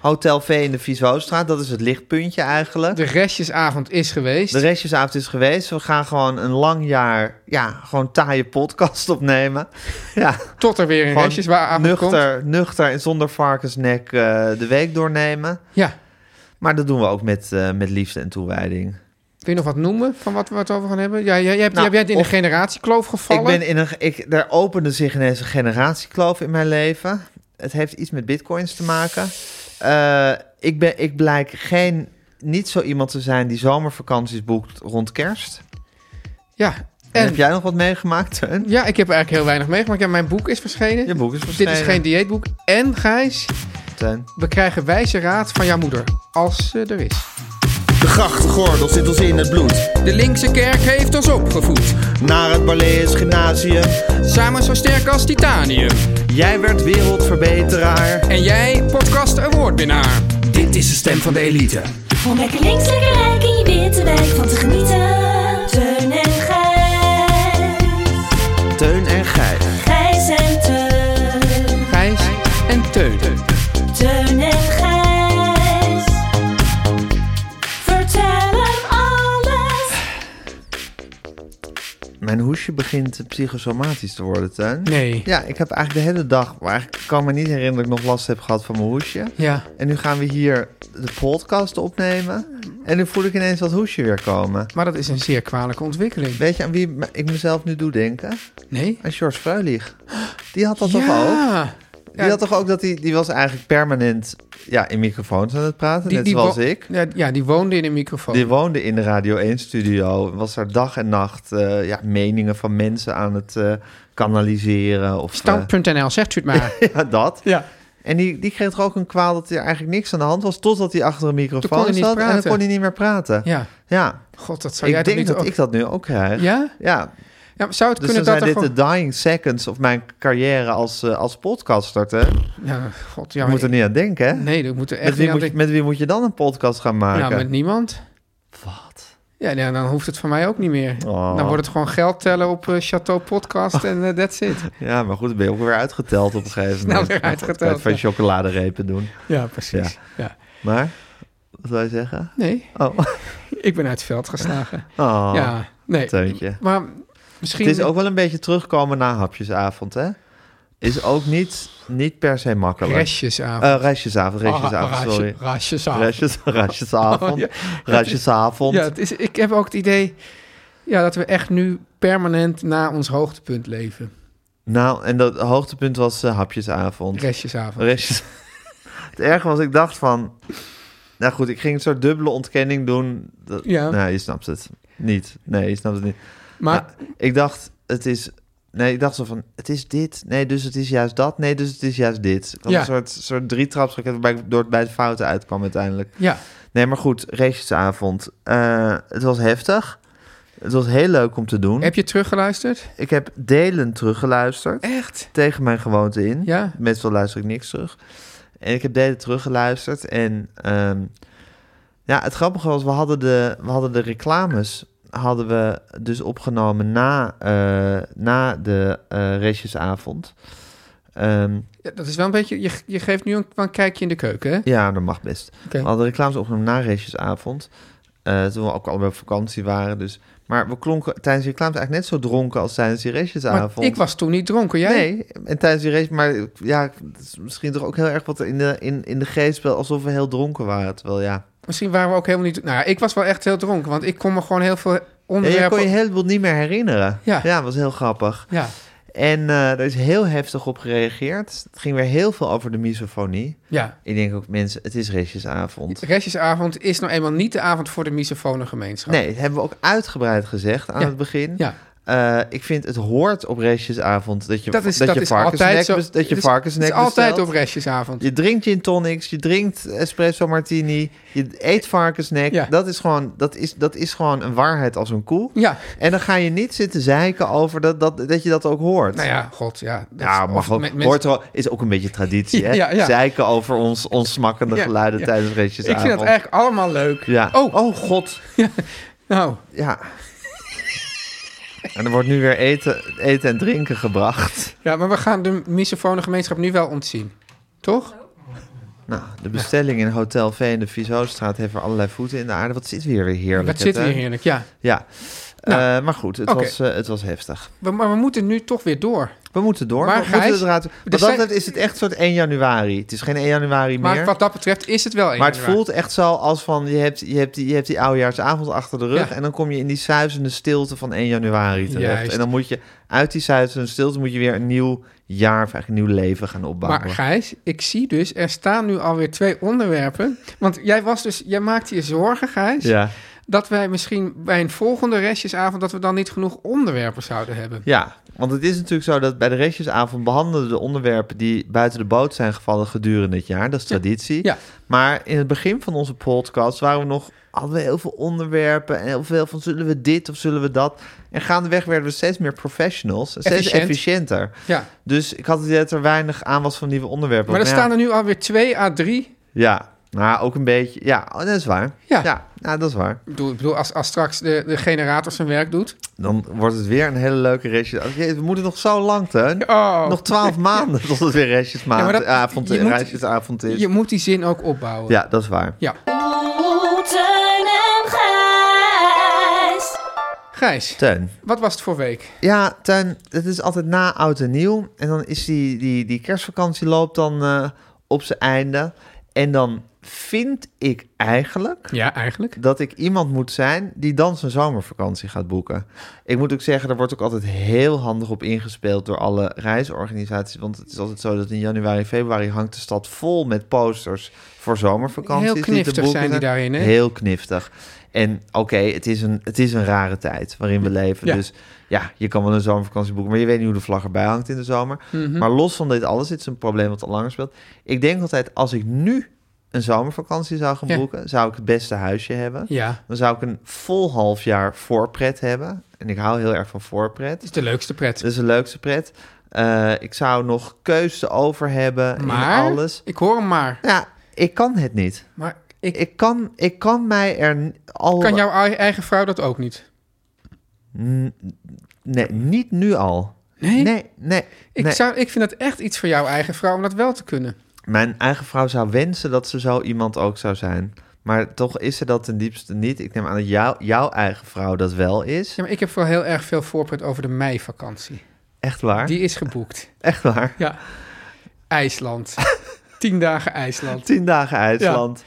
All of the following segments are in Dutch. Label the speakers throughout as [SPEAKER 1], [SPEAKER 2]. [SPEAKER 1] Hotel V in de Vieswoudstraat. Dat is het lichtpuntje eigenlijk.
[SPEAKER 2] De restjesavond is geweest.
[SPEAKER 1] De restjesavond is geweest. We gaan gewoon een lang jaar, ja, gewoon taaie podcast opnemen. Ja,
[SPEAKER 2] Tot er weer een
[SPEAKER 1] gewoon
[SPEAKER 2] restjesavond komt.
[SPEAKER 1] nuchter, nuchter en zonder varkensnek eh, de week doornemen.
[SPEAKER 2] Ja. Wil
[SPEAKER 1] Maar dat doen we ook met, eh, met liefde en toewijding.
[SPEAKER 2] je nog wat noemen van wat we het over gaan hebben? Ja, jij, jij, hebt-
[SPEAKER 1] Nou,
[SPEAKER 2] jij bent in
[SPEAKER 1] of-
[SPEAKER 2] de generatiekloof gevallen.
[SPEAKER 1] Ik ben in een, ik, daar opende zich ineens een generatiekloof in mijn leven. Het heeft iets met bitcoins te maken. Eh, ik, ben, ik blijk geen, niet zo iemand te zijn die zomervakanties boekt rond kerst.
[SPEAKER 2] Ja.
[SPEAKER 1] En
[SPEAKER 2] En,
[SPEAKER 1] heb jij nog wat meegemaakt, Teun?
[SPEAKER 2] ja, ik heb eigenlijk heel weinig meegemaakt. Ja, mijn boek is verschenen.
[SPEAKER 1] Je boek is
[SPEAKER 2] Dit
[SPEAKER 1] verschenen.
[SPEAKER 2] is geen dieetboek. En Gijs,
[SPEAKER 1] Teun.
[SPEAKER 2] we krijgen wijze raad van jouw moeder. Als ze er is.
[SPEAKER 3] De grachtgordel zit ons in het bloed.
[SPEAKER 4] De linkse kerk heeft ons opgevoed.
[SPEAKER 3] Naar het Barlees Gymnasium.
[SPEAKER 4] Samen zo sterk als titanium.
[SPEAKER 1] Jij werd wereldverbeteraar.
[SPEAKER 4] En jij, podcast awardwinnaar. Dit is de stem van de elite.
[SPEAKER 5] Om lekker links, lekker rijk in je witte wijk van te genieten. Teun en Gijs.
[SPEAKER 1] Teun en Gijs.
[SPEAKER 5] Gijs en Teun.
[SPEAKER 2] Gijs,
[SPEAKER 4] En Teun.
[SPEAKER 5] Teun en Gijs. Vertel hem alles.
[SPEAKER 1] Mijn hoesje begint psychosomatisch te worden, Teun.
[SPEAKER 2] nee.
[SPEAKER 1] Ja, ik heb eigenlijk de hele dag... Maar eigenlijk kan ik me niet herinneren dat ik nog last heb gehad van mijn hoesje.
[SPEAKER 2] Ja.
[SPEAKER 1] En nu gaan we hier de podcast opnemen. En nu voel ik ineens dat hoesje weer komen.
[SPEAKER 2] Maar dat is een zeer kwalijke ontwikkeling.
[SPEAKER 1] Weet je aan wie ik mezelf nu doe denken?
[SPEAKER 2] Nee?
[SPEAKER 1] Aan George Freulich. Die had dat
[SPEAKER 2] ja.
[SPEAKER 1] toch ook? Die
[SPEAKER 2] Ja.
[SPEAKER 1] had toch ook dat hij... Die was eigenlijk permanent ja, in microfoons aan het praten, net zoals
[SPEAKER 2] wo-
[SPEAKER 1] ik.
[SPEAKER 2] Ja, ja, die woonde in een microfoon.
[SPEAKER 1] Die woonde in de Radio 1-studio. Was daar dag en nacht eh, ja, meningen van mensen aan het eh, kanaliseren. Of, eh,
[SPEAKER 2] Stand.nl, zegt u het maar.
[SPEAKER 1] ja, dat.
[SPEAKER 2] ja.
[SPEAKER 1] En die, die kreeg er ook een kwaal dat er eigenlijk niks aan de hand was... totdat hij achter een
[SPEAKER 2] Toen kon
[SPEAKER 1] microfoon
[SPEAKER 2] hij niet
[SPEAKER 1] zat en dan
[SPEAKER 2] praten.
[SPEAKER 1] kon hij niet meer praten.
[SPEAKER 2] Ja.
[SPEAKER 1] Ja,
[SPEAKER 2] God, dat zou jij
[SPEAKER 1] ik
[SPEAKER 2] toch niet
[SPEAKER 1] denk dat
[SPEAKER 2] ook...
[SPEAKER 1] ik dat nu ook krijg.
[SPEAKER 2] Ja?
[SPEAKER 1] Ja,
[SPEAKER 2] ja maar zou het
[SPEAKER 1] dus dan
[SPEAKER 2] kunnen
[SPEAKER 1] zijn
[SPEAKER 2] dat
[SPEAKER 1] dit
[SPEAKER 2] er
[SPEAKER 1] de dying seconds of mijn carrière als, eh, als podcaster. Hè? Je
[SPEAKER 2] gewoon... Ja, god, ja, maar...
[SPEAKER 1] moet er niet aan denken, hè?
[SPEAKER 2] Nee, dat moet er echt
[SPEAKER 1] met, wie
[SPEAKER 2] niet
[SPEAKER 1] moet
[SPEAKER 2] aan
[SPEAKER 1] je, met wie moet je dan een podcast gaan
[SPEAKER 2] denken.
[SPEAKER 1] maken?
[SPEAKER 2] Nou, met niemand.
[SPEAKER 1] Wat?
[SPEAKER 2] Ja, nee, dan hoeft het van mij ook niet meer.
[SPEAKER 1] Oh.
[SPEAKER 2] Dan wordt het gewoon geld tellen op eh, Chateau Podcast en eh, that's it.
[SPEAKER 1] Ja, maar goed, dan ben je ook weer uitgeteld op een gegeven moment.
[SPEAKER 2] Nou, weer
[SPEAKER 1] Maar goed,
[SPEAKER 2] uitgeteld,
[SPEAKER 1] kan je het van
[SPEAKER 2] ja.
[SPEAKER 1] chocoladerepen doen.
[SPEAKER 2] Ja, precies. Ja.
[SPEAKER 1] Maar, wat wil je zeggen?
[SPEAKER 2] Nee,
[SPEAKER 1] Oh,
[SPEAKER 2] ik ben uit het veld geslagen.
[SPEAKER 1] oh
[SPEAKER 2] ja, nee.
[SPEAKER 1] Teuntje.
[SPEAKER 2] Maar
[SPEAKER 1] Het
[SPEAKER 2] misschien...
[SPEAKER 1] is ook wel een beetje terugkomen na hapjesavond, hè? Is ook niet, niet per se makkelijk.
[SPEAKER 2] restjesavond.
[SPEAKER 1] Eh,
[SPEAKER 2] Oh,
[SPEAKER 1] restjesavond, restjesavond,
[SPEAKER 2] Ra- ra-
[SPEAKER 1] sorry.
[SPEAKER 2] Restjesavond.
[SPEAKER 1] Restjes, restjesavond,
[SPEAKER 2] Oh, ja.
[SPEAKER 1] restjesavond.
[SPEAKER 2] Ja, het is, ik heb ook het idee ja, dat we echt nu permanent na ons hoogtepunt leven.
[SPEAKER 1] Nou, en dat hoogtepunt was eh, hapjesavond.
[SPEAKER 2] Restjesavond.
[SPEAKER 1] Restjes. Het erge was, ik dacht van... Nou goed, ik ging een soort dubbele ontkenning doen. Dat,
[SPEAKER 2] Ja.
[SPEAKER 1] Nou, je snapt het niet. Nee, je snapt het niet.
[SPEAKER 2] maar
[SPEAKER 1] Ja, ik dacht, het is... Nee, ik dacht zo van, het is dit. Nee, dus het is juist dat. Nee, dus het is juist dit. Ik had
[SPEAKER 2] Ja.
[SPEAKER 1] Een soort, soort drietrapsraket waarbij ik door, bij de fouten uitkwam uiteindelijk.
[SPEAKER 2] ja,
[SPEAKER 1] Nee, maar goed, raceavond. Eh, het was heftig. Het was heel leuk om te doen.
[SPEAKER 2] heb je teruggeluisterd?
[SPEAKER 1] Ik heb delen teruggeluisterd.
[SPEAKER 2] Echt?
[SPEAKER 1] Tegen mijn gewoonte in.
[SPEAKER 2] Ja.
[SPEAKER 1] Meestal luister ik niks terug. En ik heb delen teruggeluisterd. En ehm, ja, het grappige was, we hadden de, we hadden de reclames hadden we dus opgenomen na, eh, na de eh raceavond. Ehm,
[SPEAKER 2] Ja, Dat is wel een beetje... Je, je geeft nu een, wel een kijkje in de keuken, hè?
[SPEAKER 1] ja, dat mag best.
[SPEAKER 2] Oké.
[SPEAKER 1] We hadden reclames opgenomen na raceavond. eh, toen we ook allebei op vakantie waren. Dus. Maar we klonken tijdens die reclames eigenlijk net zo dronken als tijdens die
[SPEAKER 2] Maar
[SPEAKER 1] racejesavond.
[SPEAKER 2] ik was toen niet dronken, jij?
[SPEAKER 1] Nee, en tijdens die race, maar ja, het is misschien toch ook heel erg wat in de, in, in de geest wel alsof we heel dronken waren. Terwijl ja,
[SPEAKER 2] Misschien waren we ook helemaal niet... Nou ja, ik was wel echt heel dronken, want ik kon me gewoon heel veel
[SPEAKER 1] ja je kon
[SPEAKER 2] onderwerpen...
[SPEAKER 1] je een heleboel niet meer herinneren.
[SPEAKER 2] Ja.
[SPEAKER 1] ja was heel grappig.
[SPEAKER 2] Ja,
[SPEAKER 1] En eh er is heel heftig op gereageerd. Dus Het ging weer heel veel over de misofonie.
[SPEAKER 2] ja.
[SPEAKER 1] Ik denk ook, mensen, het is racejesavond.
[SPEAKER 2] Restjesavond is nou eenmaal niet de avond voor de misofone gemeenschap.
[SPEAKER 1] Nee, dat hebben we ook uitgebreid gezegd aan
[SPEAKER 2] Ja.
[SPEAKER 1] het begin.
[SPEAKER 2] Ja.
[SPEAKER 1] Eh, ik vind het hoort op racejesavond dat je,
[SPEAKER 2] Dat is,
[SPEAKER 1] dat
[SPEAKER 2] dat
[SPEAKER 1] je
[SPEAKER 2] is
[SPEAKER 1] varkensnek,
[SPEAKER 2] altijd zo.
[SPEAKER 1] bes- dat je
[SPEAKER 2] het is-
[SPEAKER 1] varkensnek
[SPEAKER 2] het is altijd
[SPEAKER 1] bestelt.
[SPEAKER 2] op restjesavond.
[SPEAKER 1] Je drinkt gin tonics, je drinkt espresso martini, je eet varkensnek.
[SPEAKER 2] Ja.
[SPEAKER 1] Dat, is gewoon, dat, is, dat is gewoon een waarheid als een koe.
[SPEAKER 2] Ja.
[SPEAKER 1] En dan ga je niet zitten zeiken over dat, dat, dat je dat ook hoort.
[SPEAKER 2] Nou ja, god, ja. Dat
[SPEAKER 1] Ja,
[SPEAKER 2] of
[SPEAKER 1] mag ook.
[SPEAKER 2] met- met-
[SPEAKER 1] hoort er wel- is ook een beetje traditie, hè?
[SPEAKER 2] Ja, ja.
[SPEAKER 1] Zeiken over ons, ons smakkende
[SPEAKER 2] Ja,
[SPEAKER 1] geluiden
[SPEAKER 2] ja.
[SPEAKER 1] tijdens ritjes
[SPEAKER 2] Ik vind dat eigenlijk allemaal leuk.
[SPEAKER 1] Ja.
[SPEAKER 2] Oh,
[SPEAKER 1] oh, god.
[SPEAKER 2] nou,
[SPEAKER 1] Ja. en er wordt nu weer eten, eten en drinken gebracht.
[SPEAKER 2] ja, maar we gaan de misofone gemeenschap nu wel ontzien. Toch?
[SPEAKER 1] Nou, de bestelling in Hotel V in de Vizostraat heeft er allerlei voeten in de aarde. Wat zit we hier weer heerlijk.
[SPEAKER 2] Dat
[SPEAKER 1] hè,
[SPEAKER 2] zit hier
[SPEAKER 1] Tuin?
[SPEAKER 2] heerlijk, ja.
[SPEAKER 1] Ja.
[SPEAKER 2] Nou,
[SPEAKER 1] Eh, maar goed, het,
[SPEAKER 2] oké.
[SPEAKER 1] was, eh, het was heftig.
[SPEAKER 2] We- maar we moeten nu toch weer door.
[SPEAKER 1] We moeten door.
[SPEAKER 2] Maar
[SPEAKER 1] we moeten
[SPEAKER 2] Gijs,
[SPEAKER 1] het eruit- Wat
[SPEAKER 2] er
[SPEAKER 1] dat
[SPEAKER 2] zijn-
[SPEAKER 1] betreft is het echt soort 1 januari. Het is geen 1 januari meer.
[SPEAKER 2] Maar wat dat betreft is het wel één
[SPEAKER 1] Maar het
[SPEAKER 2] januari.
[SPEAKER 1] voelt echt zo als van je hebt, je hebt, die, je hebt die oudejaarsavond achter de rug.
[SPEAKER 2] Ja.
[SPEAKER 1] En dan kom je in die suizende stilte van 1 januari terecht.
[SPEAKER 2] Juist.
[SPEAKER 1] En dan moet je uit die suizende stilte moet je weer een nieuw jaar of eigenlijk een nieuw leven gaan opbouwen.
[SPEAKER 2] Maar Gijs, ik zie dus, er staan nu alweer twee onderwerpen. Want jij was dus, jij maakte je zorgen, Gijs,
[SPEAKER 1] ja.
[SPEAKER 2] dat wij misschien bij een volgende restjesavond dat we dan niet genoeg onderwerpen zouden hebben.
[SPEAKER 1] ja, want het is natuurlijk zo dat bij de restjesavond behandelen de onderwerpen die buiten de boot zijn gevallen gedurende het jaar. Dat is traditie.
[SPEAKER 2] Ja.
[SPEAKER 1] Maar in het begin van onze podcast waren we nog hadden we heel veel onderwerpen en heel veel van zullen we dit of zullen we dat. En gaandeweg werden we steeds meer professionals, en steeds
[SPEAKER 2] Efficiënt.
[SPEAKER 1] efficiënter.
[SPEAKER 2] Ja.
[SPEAKER 1] Dus ik had het idee dat er weinig aan was van nieuwe onderwerpen.
[SPEAKER 2] Maar er
[SPEAKER 1] ja,
[SPEAKER 2] staan er nu alweer twee à drie.
[SPEAKER 1] Ja, maar ook een beetje... Ja, oh, dat is waar.
[SPEAKER 2] Ja.
[SPEAKER 1] ja nou, dat is waar.
[SPEAKER 2] Ik bedoel, ik bedoel als, als straks de, de generator zijn werk doet.
[SPEAKER 1] Dan wordt het weer een hele leuke restje. Oh, jee, we moeten nog zo lang, Teun.
[SPEAKER 2] Oh.
[SPEAKER 1] Nog twaalf maanden tot het weer
[SPEAKER 2] Ja, maar
[SPEAKER 1] restjesmaand,
[SPEAKER 2] dat-
[SPEAKER 1] avond,
[SPEAKER 2] je moet-
[SPEAKER 1] restjesavond is.
[SPEAKER 2] Je moet die zin ook opbouwen.
[SPEAKER 1] Ja, dat is waar.
[SPEAKER 2] Ja.
[SPEAKER 5] Oh, Teun en Gijs.
[SPEAKER 2] Gijs,
[SPEAKER 1] Teun.
[SPEAKER 2] wat was het voor week?
[SPEAKER 1] Ja, Teun, het is altijd na oud en nieuw. En dan is die, die, die kerstvakantie loopt dan eh, op zijn einde. En dan vind ik eigenlijk...
[SPEAKER 2] Ja, eigenlijk.
[SPEAKER 1] dat ik iemand moet zijn die dan zijn zomervakantie gaat boeken. Ik moet ook zeggen, daar wordt ook altijd heel handig op ingespeeld door alle reisorganisaties. Want het is altijd zo dat in januari, februari hangt de stad vol met posters voor zomervakanties.
[SPEAKER 2] Heel
[SPEAKER 1] die te
[SPEAKER 2] kniftig
[SPEAKER 1] boeken
[SPEAKER 2] zijn die daarin, hè?
[SPEAKER 1] Heel kniftig. En oké, het, is een- het is een rare tijd waarin we leven.
[SPEAKER 2] Ja.
[SPEAKER 1] Dus ja, je kan wel een zomervakantie boeken, maar je weet niet hoe de vlag erbij hangt in de zomer.
[SPEAKER 2] Mhm.
[SPEAKER 1] Maar los van dit alles, dit is een probleem wat al langer speelt. Ik denk altijd, als ik nu een zomervakantie zou gaan
[SPEAKER 2] Ja.
[SPEAKER 1] boeken, zou ik het beste huisje hebben.
[SPEAKER 2] Ja.
[SPEAKER 1] Dan zou ik een vol half jaar voorpret hebben. En ik hou heel erg van voorpret.
[SPEAKER 2] Het is de leukste pret.
[SPEAKER 1] Dat is de leukste pret. Eh, ik zou nog keuze over hebben
[SPEAKER 2] maar,
[SPEAKER 1] in alles.
[SPEAKER 2] ik hoor hem maar.
[SPEAKER 1] Ja, ik kan het niet.
[SPEAKER 2] Maar ik,
[SPEAKER 1] Ik kan, ik kan mij er n- al...
[SPEAKER 2] kan jouw ei- eigen vrouw dat ook niet.
[SPEAKER 1] Nee, niet nu al.
[SPEAKER 2] Nee?
[SPEAKER 1] Nee, nee.
[SPEAKER 2] Ik,
[SPEAKER 1] nee.
[SPEAKER 2] zou, ik vind dat echt iets voor jouw eigen vrouw om dat wel te kunnen.
[SPEAKER 1] Mijn eigen vrouw zou wensen dat ze zo iemand ook zou zijn. Maar toch is ze dat ten diepste niet. Ik neem aan dat jou, jouw eigen vrouw dat wel is.
[SPEAKER 2] Ja, maar ik heb vooral heel erg veel voorpret over de meivakantie.
[SPEAKER 1] Echt waar?
[SPEAKER 2] Die is geboekt.
[SPEAKER 1] Echt waar?
[SPEAKER 2] Ja. IJsland. Tien dagen IJsland.
[SPEAKER 1] Tien dagen IJsland.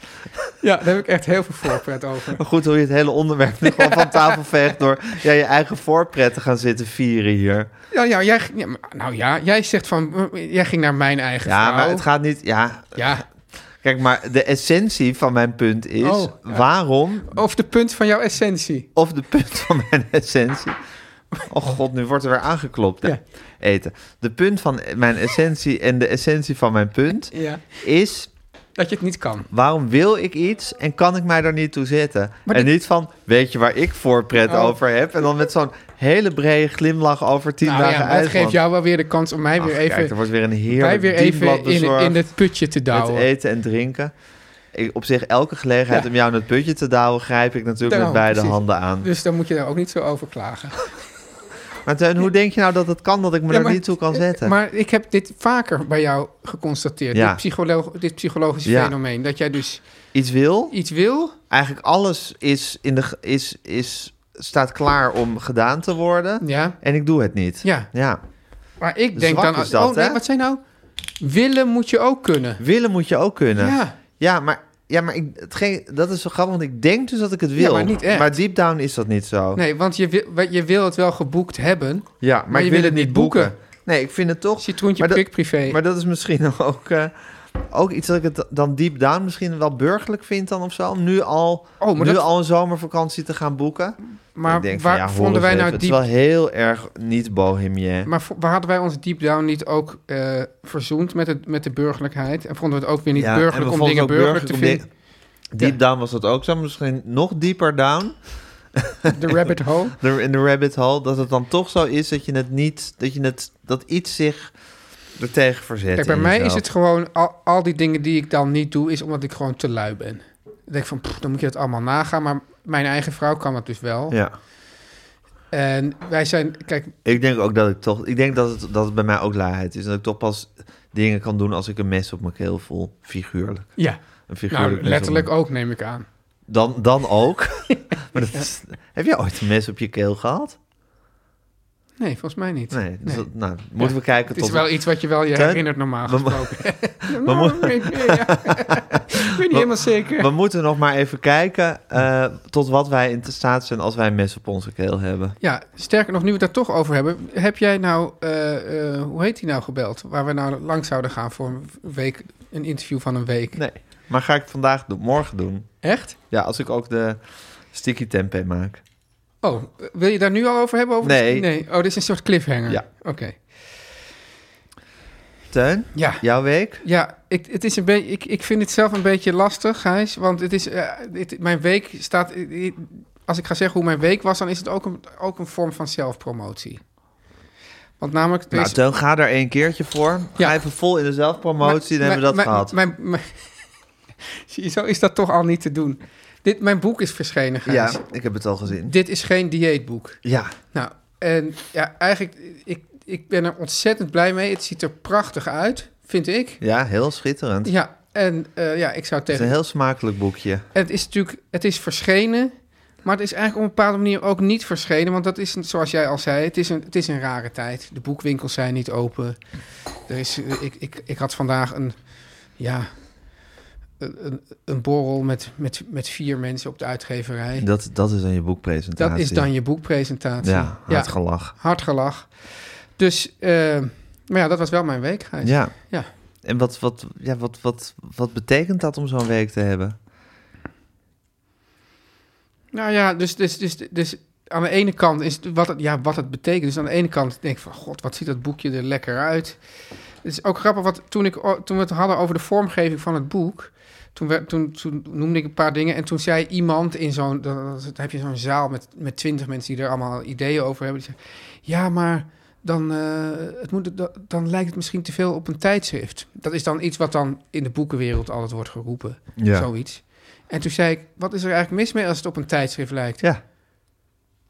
[SPEAKER 2] Ja, daar heb ik echt heel veel voorpret over.
[SPEAKER 1] Maar goed hoe je het hele onderwerp nu gewoon van tafel veegt door ja, je eigen voorpret te gaan zitten vieren hier.
[SPEAKER 2] Ja, ja, jij, ja, maar- nou ja, jij zegt van, eh, jij ging naar mijn eigen
[SPEAKER 1] Ja,
[SPEAKER 2] vrouw.
[SPEAKER 1] maar het gaat niet. Ja,
[SPEAKER 2] Ja,
[SPEAKER 1] kijk, maar de essentie van mijn punt is
[SPEAKER 2] Oh, ja.
[SPEAKER 1] waarom
[SPEAKER 2] of de punt van jouw essentie.
[SPEAKER 1] of de punt van mijn essentie. Oh god, nu wordt er weer aangeklopt. hè?
[SPEAKER 2] Ja.
[SPEAKER 1] Eten. De punt van mijn essentie en de essentie van mijn punt
[SPEAKER 2] Ja.
[SPEAKER 1] is
[SPEAKER 2] Dat je het niet kan.
[SPEAKER 1] waarom wil ik iets en kan ik mij daar niet toe zetten?
[SPEAKER 2] Maar
[SPEAKER 1] en
[SPEAKER 2] dit-
[SPEAKER 1] niet van weet je waar ik voorpret
[SPEAKER 2] Oh.
[SPEAKER 1] over heb en dan met zo'n hele brede glimlach over tien
[SPEAKER 2] Nou
[SPEAKER 1] dagen
[SPEAKER 2] ja, maar dat
[SPEAKER 1] IJsland.
[SPEAKER 2] geeft jou wel weer de kans om mij
[SPEAKER 1] Ach,
[SPEAKER 2] weer even,
[SPEAKER 1] Kijk, er wordt weer een
[SPEAKER 2] mij
[SPEAKER 1] heerlijk
[SPEAKER 2] weer even in, in het putje te
[SPEAKER 1] met
[SPEAKER 2] douwen.
[SPEAKER 1] eten en drinken. Ik, op zich, elke gelegenheid
[SPEAKER 2] Ja.
[SPEAKER 1] om jou in het putje te douwen... grijp ik natuurlijk
[SPEAKER 2] Daarom,
[SPEAKER 1] met beide
[SPEAKER 2] precies.
[SPEAKER 1] handen aan.
[SPEAKER 2] Dus dan moet je daar ook niet zo over klagen.
[SPEAKER 1] Maar Teun, hoe denk je nou dat het kan dat ik me
[SPEAKER 2] Ja,
[SPEAKER 1] er
[SPEAKER 2] maar-
[SPEAKER 1] niet toe kan zetten?
[SPEAKER 2] Maar ik heb dit vaker bij jou geconstateerd.
[SPEAKER 1] Ja.
[SPEAKER 2] Dit, psycholo- dit psychologische
[SPEAKER 1] Ja.
[SPEAKER 2] fenomeen. Dat jij dus
[SPEAKER 1] Iets wil?
[SPEAKER 2] iets wil.
[SPEAKER 1] Eigenlijk alles is, in de, ge- is, is staat klaar om gedaan te worden.
[SPEAKER 2] Ja.
[SPEAKER 1] En ik doe het niet.
[SPEAKER 2] Ja.
[SPEAKER 1] ja.
[SPEAKER 2] Maar ik denk
[SPEAKER 1] Zwak
[SPEAKER 2] dan...
[SPEAKER 1] is dat,
[SPEAKER 2] oh, nee,
[SPEAKER 1] hè?
[SPEAKER 2] wat zijn nou? Willen moet je ook kunnen.
[SPEAKER 1] Willen moet je ook kunnen.
[SPEAKER 2] Ja.
[SPEAKER 1] Ja, maar, ja, maar ik, hetgeen, dat is zo grappig, want ik denk dus dat ik het wil.
[SPEAKER 2] maar niet echt.
[SPEAKER 1] Maar deep down is dat niet zo.
[SPEAKER 2] Nee, want je wil, wat- je wil het wel geboekt hebben.
[SPEAKER 1] Ja, maar, ik wil het niet boeken. Nee, ik vind het toch...
[SPEAKER 2] Citroentje
[SPEAKER 1] maar dat-
[SPEAKER 2] prik privé.
[SPEAKER 1] Maar dat is misschien ook, eh, ook iets dat ik het dan deep down misschien wel burgerlijk vind dan of zo. Om nu al,
[SPEAKER 2] Oh, maar
[SPEAKER 1] nu
[SPEAKER 2] dat-
[SPEAKER 1] al een zomervakantie te gaan boeken.
[SPEAKER 2] maar
[SPEAKER 1] Ik denk van,
[SPEAKER 2] waar
[SPEAKER 1] ja, hoor
[SPEAKER 2] vonden wij
[SPEAKER 1] eens
[SPEAKER 2] nou
[SPEAKER 1] even,
[SPEAKER 2] diep...
[SPEAKER 1] Het is wel heel erg niet bohemien.
[SPEAKER 2] Maar vo- waar hadden wij ons deep down niet ook eh, verzoend met, het, met de burgerlijkheid? En vonden we het ook weer niet
[SPEAKER 1] Ja, en we
[SPEAKER 2] burgerlijk om
[SPEAKER 1] vonden
[SPEAKER 2] dingen
[SPEAKER 1] het ook
[SPEAKER 2] burgerlijk te
[SPEAKER 1] burgerlijk om
[SPEAKER 2] vinden?
[SPEAKER 1] Deep
[SPEAKER 2] Ja.
[SPEAKER 1] down was dat ook zo, misschien nog dieper down.
[SPEAKER 2] De rabbit hole.
[SPEAKER 1] de- in de rabbit hole, dat het dan toch zo is dat je het niet, dat je het, dat iets zich er tegen verzet.
[SPEAKER 2] Kijk, bij
[SPEAKER 1] in
[SPEAKER 2] mij is
[SPEAKER 1] jezelf.
[SPEAKER 2] het gewoon... Al, al die dingen die ik dan niet doe, is omdat ik gewoon te lui ben. Dan denk ik van, pff, dan moet je dat allemaal nagaan. Maar mijn eigen vrouw kan dat dus wel.
[SPEAKER 1] Ja,
[SPEAKER 2] En wij zijn... Kijk,
[SPEAKER 1] ik denk ook dat ik toch, ik denk dat het, dat het bij mij ook luiheid is. Dat ik toch pas dingen kan doen als ik een mes op mijn keel voel, figuurlijk.
[SPEAKER 2] ja,
[SPEAKER 1] Een figuurlijk
[SPEAKER 2] nou,
[SPEAKER 1] mes op
[SPEAKER 2] letterlijk
[SPEAKER 1] mijn-
[SPEAKER 2] ook neem ik aan.
[SPEAKER 1] Dan, dan ook. maar dat is- heb jij ooit een mes op je keel gehad?
[SPEAKER 2] Nee, volgens mij niet.
[SPEAKER 1] Nee. dus
[SPEAKER 2] Nee.
[SPEAKER 1] dat- nou, moeten we
[SPEAKER 2] Het
[SPEAKER 1] kijken
[SPEAKER 2] is
[SPEAKER 1] tot...
[SPEAKER 2] wel iets wat je wel je
[SPEAKER 1] Teun,
[SPEAKER 2] herinnert normaal
[SPEAKER 1] we mo-
[SPEAKER 2] gesproken.
[SPEAKER 1] we
[SPEAKER 2] Nou,
[SPEAKER 1] moeten-
[SPEAKER 2] ik weet- ja. Ik weet niet helemaal zeker.
[SPEAKER 1] We moeten nog maar even kijken eh, tot wat wij in staat zijn als wij een mes op onze keel hebben.
[SPEAKER 2] Ja, sterker nog, nu we het daar toch over hebben. Heb jij nou, eh, eh, hoe heet die nou gebeld? Waar we nou langs zouden gaan voor een week, een interview van een week.
[SPEAKER 1] Nee. Maar ga ik het vandaag doen, morgen doen?
[SPEAKER 2] Echt?
[SPEAKER 1] Ja, als ik ook de sticky tempeh maak.
[SPEAKER 2] Oh, eh, wil je daar nu al over hebben? Over de-
[SPEAKER 1] Nee.
[SPEAKER 2] nee. Oh, dit is een soort cliffhanger.
[SPEAKER 1] Ja.
[SPEAKER 2] Oké.
[SPEAKER 1] Teun,
[SPEAKER 2] Ja.
[SPEAKER 1] jouw week?
[SPEAKER 2] Ja, ik, het is een beetje. ik, ik vind het zelf een beetje lastig, Gijs. Want het is, eh, dit- mijn week staat... eh, eh, Als ik ga zeggen hoe mijn week was, dan is het ook een, ook een vorm van zelfpromotie. Want namelijk... er
[SPEAKER 1] Nou,
[SPEAKER 2] is-
[SPEAKER 1] Teun, ga daar één keertje voor. Ga
[SPEAKER 2] Ja.
[SPEAKER 1] even vol in de zelfpromotie, dan hebben
[SPEAKER 2] Mijn-
[SPEAKER 1] we dat
[SPEAKER 2] mijn-
[SPEAKER 1] gehad.
[SPEAKER 2] Mijn, mijn- zie je, zo is dat toch al niet te doen. Dit, mijn boek is verschenen, Gijs.
[SPEAKER 1] ja, ik heb het al gezien.
[SPEAKER 2] Dit is geen dieetboek.
[SPEAKER 1] Ja,
[SPEAKER 2] Nou, en ja, eigenlijk, ik, ik ben er ontzettend blij mee. Het ziet er prachtig uit, vind ik.
[SPEAKER 1] ja, heel schitterend.
[SPEAKER 2] Ja, en eh, ja, ik zou
[SPEAKER 1] Het is
[SPEAKER 2] tegen...
[SPEAKER 1] een heel smakelijk boekje.
[SPEAKER 2] En Het is natuurlijk, het is verschenen, maar het is eigenlijk op een bepaalde manier ook niet verschenen. Want dat is, een- zoals jij al zei, het is een, het is een rare tijd. De boekwinkels zijn niet open. Er is, eh, ik, ik, ik had vandaag een, ja, een, een- een borrel met, met, met vier mensen op de uitgeverij. Dat,
[SPEAKER 1] Dat, dat is dan je boekpresentatie.
[SPEAKER 2] is dan je boekpresentatie.
[SPEAKER 1] Ja, hard gelach.
[SPEAKER 2] hard gelach. Dus, eh, maar ja, dat was wel mijn week, Gijs.
[SPEAKER 1] Ja.
[SPEAKER 2] Ja.
[SPEAKER 1] En wat, wat, ja, wat, wat, wat betekent dat om zo'n week te hebben?
[SPEAKER 2] Nou ja, dus, dus, dus, dus aan de ene kant is het wat het, ja, wat het betekent. Dus aan de ene kant denk ik van, god, wat ziet dat boekje er lekker uit. Het is ook grappig, wat, toen, ik, o- toen we het hadden over de vormgeving van het boek... Toen, we, toen, toen noemde ik een paar dingen en toen zei iemand in zo'n... Dan, dan heb je zo'n zaal met, met twintig mensen die er allemaal ideeën over hebben. Die zeggen, ja, maar dan, eh, het moet, dan, dan lijkt het misschien te veel op een tijdschrift. Dat is dan iets wat dan in de boekenwereld altijd wordt geroepen.
[SPEAKER 1] Ja.
[SPEAKER 2] Zoiets. En toen zei ik, wat is er eigenlijk mis mee als het op een tijdschrift lijkt?
[SPEAKER 1] Ja,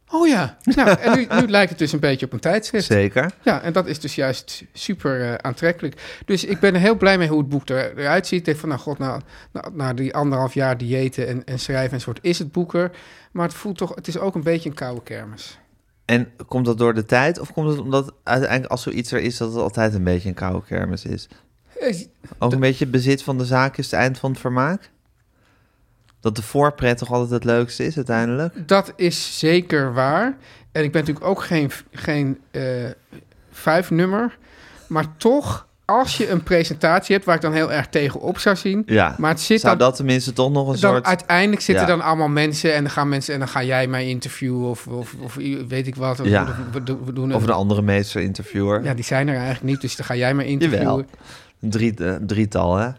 [SPEAKER 2] Oh ja. Nou, en nu, nu lijkt het dus een beetje op een tijdschrift.
[SPEAKER 1] zeker.
[SPEAKER 2] Ja, en dat is dus juist super eh, aantrekkelijk. Dus ik ben er heel blij mee hoe het boek er, eruit ziet. Ik denk van, nou god, na, na, na die anderhalf jaar diëten en, en schrijven en soort is het boek er. Maar het voelt toch, het is ook een beetje een koude kermis.
[SPEAKER 1] En komt dat door de tijd? Of komt het omdat uiteindelijk als zoiets er is... dat het altijd een beetje een koude kermis is?
[SPEAKER 2] Eh,
[SPEAKER 1] Ook een beetje bezit van de zaak is het eind van het vermaak? Dat de voorpret toch altijd het leukste is uiteindelijk?
[SPEAKER 2] Dat is zeker waar. En ik ben natuurlijk ook geen, geen eh, vijfnummer. Maar toch, als je een presentatie hebt waar ik dan heel erg tegenop zou zien.
[SPEAKER 1] Ja,
[SPEAKER 2] Maar het zit
[SPEAKER 1] zou
[SPEAKER 2] dan,
[SPEAKER 1] dat tenminste toch nog een
[SPEAKER 2] dan
[SPEAKER 1] soort...
[SPEAKER 2] uiteindelijk zitten
[SPEAKER 1] Ja.
[SPEAKER 2] dan allemaal mensen en dan gaan mensen en dan ga jij mij interviewen of, of, of i- weet ik wat. Of,
[SPEAKER 1] Ja.
[SPEAKER 2] of we, do- we doen
[SPEAKER 1] Of
[SPEAKER 2] een-
[SPEAKER 1] een andere meester-interviewer.
[SPEAKER 2] Ja, die zijn er eigenlijk niet, dus dan ga jij mij interviewen.
[SPEAKER 1] Jawel. Een drie, eh, drietal, hè?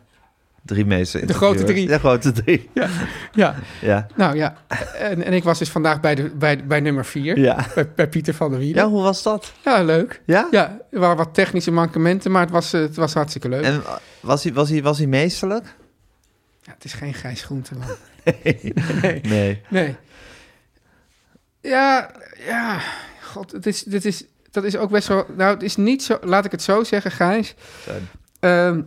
[SPEAKER 1] Drie meester
[SPEAKER 2] grote drie.
[SPEAKER 1] De grote drie, ja.
[SPEAKER 2] Ja,
[SPEAKER 1] Ja.
[SPEAKER 2] nou ja. En, en ik was dus vandaag bij, de, bij, bij nummer vier,
[SPEAKER 1] Ja.
[SPEAKER 2] bij, bij Pieter van der Wielen.
[SPEAKER 1] ja, hoe was dat?
[SPEAKER 2] Ja, leuk.
[SPEAKER 1] Ja?
[SPEAKER 2] Ja, er waren wat technische mankementen, maar het was, eh, het was hartstikke leuk.
[SPEAKER 1] En eh, was hij, was hij, was hij meesterlijk?
[SPEAKER 2] Ja, het is geen Gijs Groenteman.
[SPEAKER 1] Nee.
[SPEAKER 2] Nee. Ja, ja. God, het is, dit is, dat is ook best wel... Nou, het is niet zo... Laat ik het zo zeggen, Gijs.
[SPEAKER 1] Teun.
[SPEAKER 2] Ehm,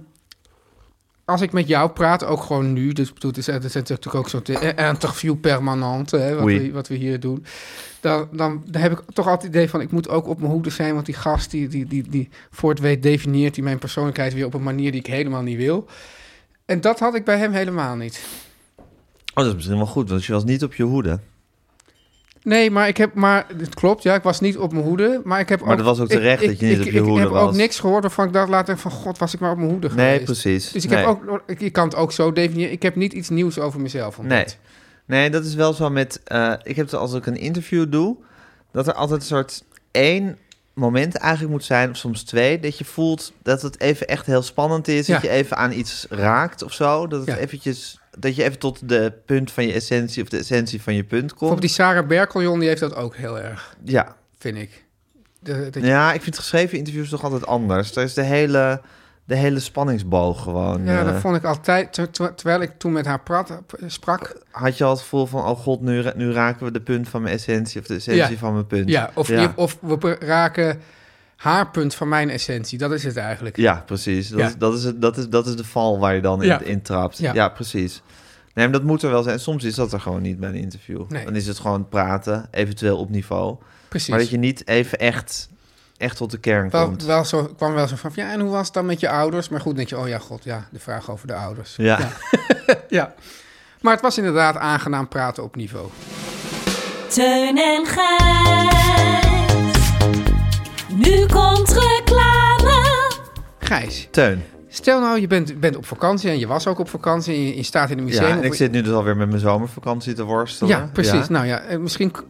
[SPEAKER 2] als ik met jou praat, ook gewoon nu, dus ik bedoel, het is, het is natuurlijk ook zo'n te- eh, interview permanent, hè, wat,
[SPEAKER 1] Oei.
[SPEAKER 2] we, wat we hier doen, dan, dan, dan heb ik toch altijd het idee van, ik moet ook op mijn hoede zijn, want die gast die, die, die, die voor het weet definieert die mijn persoonlijkheid weer op een manier die ik helemaal niet wil. En dat had ik bij hem helemaal niet.
[SPEAKER 1] Oh, dat is misschien wel goed, want je was niet op je hoede.
[SPEAKER 2] Nee, maar ik heb, maar het klopt, ja, ik was niet op mijn hoede, maar ik heb
[SPEAKER 1] Maar dat was ook terecht dat je niet op je
[SPEAKER 2] Ik
[SPEAKER 1] hoede
[SPEAKER 2] heb ook
[SPEAKER 1] was.
[SPEAKER 2] niks gehoord waarvan ik dacht later van, god, was ik maar op mijn hoede geweest.
[SPEAKER 1] Nee, precies.
[SPEAKER 2] Dus ik
[SPEAKER 1] Nee.
[SPEAKER 2] heb ook, ik, ik kan het ook zo definiëren. Ik heb niet iets nieuws over mezelf. ontdekt.
[SPEAKER 1] Nee. Nee, dat is wel zo met... eh, ik heb het als ik een interview doe... dat er altijd een soort één moment eigenlijk moet zijn... of soms twee, dat je voelt dat het even echt heel spannend is... dat
[SPEAKER 2] Ja.
[SPEAKER 1] je even aan iets raakt of zo. Dat, het
[SPEAKER 2] Ja.
[SPEAKER 1] eventjes, dat je even tot de punt van je essentie... of de essentie van je punt komt.
[SPEAKER 2] Bijvoorbeeld die Sarah Berkeljon, die heeft dat ook heel erg,
[SPEAKER 1] Ja.
[SPEAKER 2] vind ik. De- dat-
[SPEAKER 1] ja, ik vind geschreven interviews toch altijd anders. Daar is de hele, de hele spanningsboog gewoon...
[SPEAKER 2] ja,
[SPEAKER 1] eh,
[SPEAKER 2] dat vond ik altijd, ter- ter- terwijl ik toen met haar prat, sprak.
[SPEAKER 1] had je al het gevoel van, oh god, nu, ra- nu raken we de punt van mijn essentie of de essentie
[SPEAKER 2] Ja.
[SPEAKER 1] van mijn punt.
[SPEAKER 2] Ja, of,
[SPEAKER 1] ja.
[SPEAKER 2] of we raken haar punt van mijn essentie. Dat is het eigenlijk.
[SPEAKER 1] Ja, precies. Dat,
[SPEAKER 2] Ja.
[SPEAKER 1] Is, dat, is het, dat, is, dat is de val waar je dan
[SPEAKER 2] Ja.
[SPEAKER 1] in, in trapt. Ja.
[SPEAKER 2] Ja.
[SPEAKER 1] precies. Nee, maar dat moet er wel zijn. Soms is dat er gewoon niet bij een interview.
[SPEAKER 2] Nee.
[SPEAKER 1] Dan is het gewoon praten, eventueel op niveau.
[SPEAKER 2] Precies.
[SPEAKER 1] Maar dat je niet even echt, echt tot de kern
[SPEAKER 2] wel,
[SPEAKER 1] komt.
[SPEAKER 2] wel zo, kwam wel zo van, ja, en hoe was het dan met je ouders? Maar goed, denk je, oh ja, god, ja, de vraag over de ouders.
[SPEAKER 1] Ja.
[SPEAKER 2] Ja. Maar het was inderdaad aangenaam praten op niveau.
[SPEAKER 5] Teun en Gijs. Nu komt reclame.
[SPEAKER 2] Gijs,
[SPEAKER 1] Teun.
[SPEAKER 2] Stel nou, je bent, bent op vakantie en je was ook op vakantie en je, je staat in een museum.
[SPEAKER 1] Ja, en
[SPEAKER 2] of-
[SPEAKER 1] ik zit nu dus alweer met mijn zomervakantie te worstelen.
[SPEAKER 2] ja precies.
[SPEAKER 1] Ja.
[SPEAKER 2] Nou ja, eh, misschien k-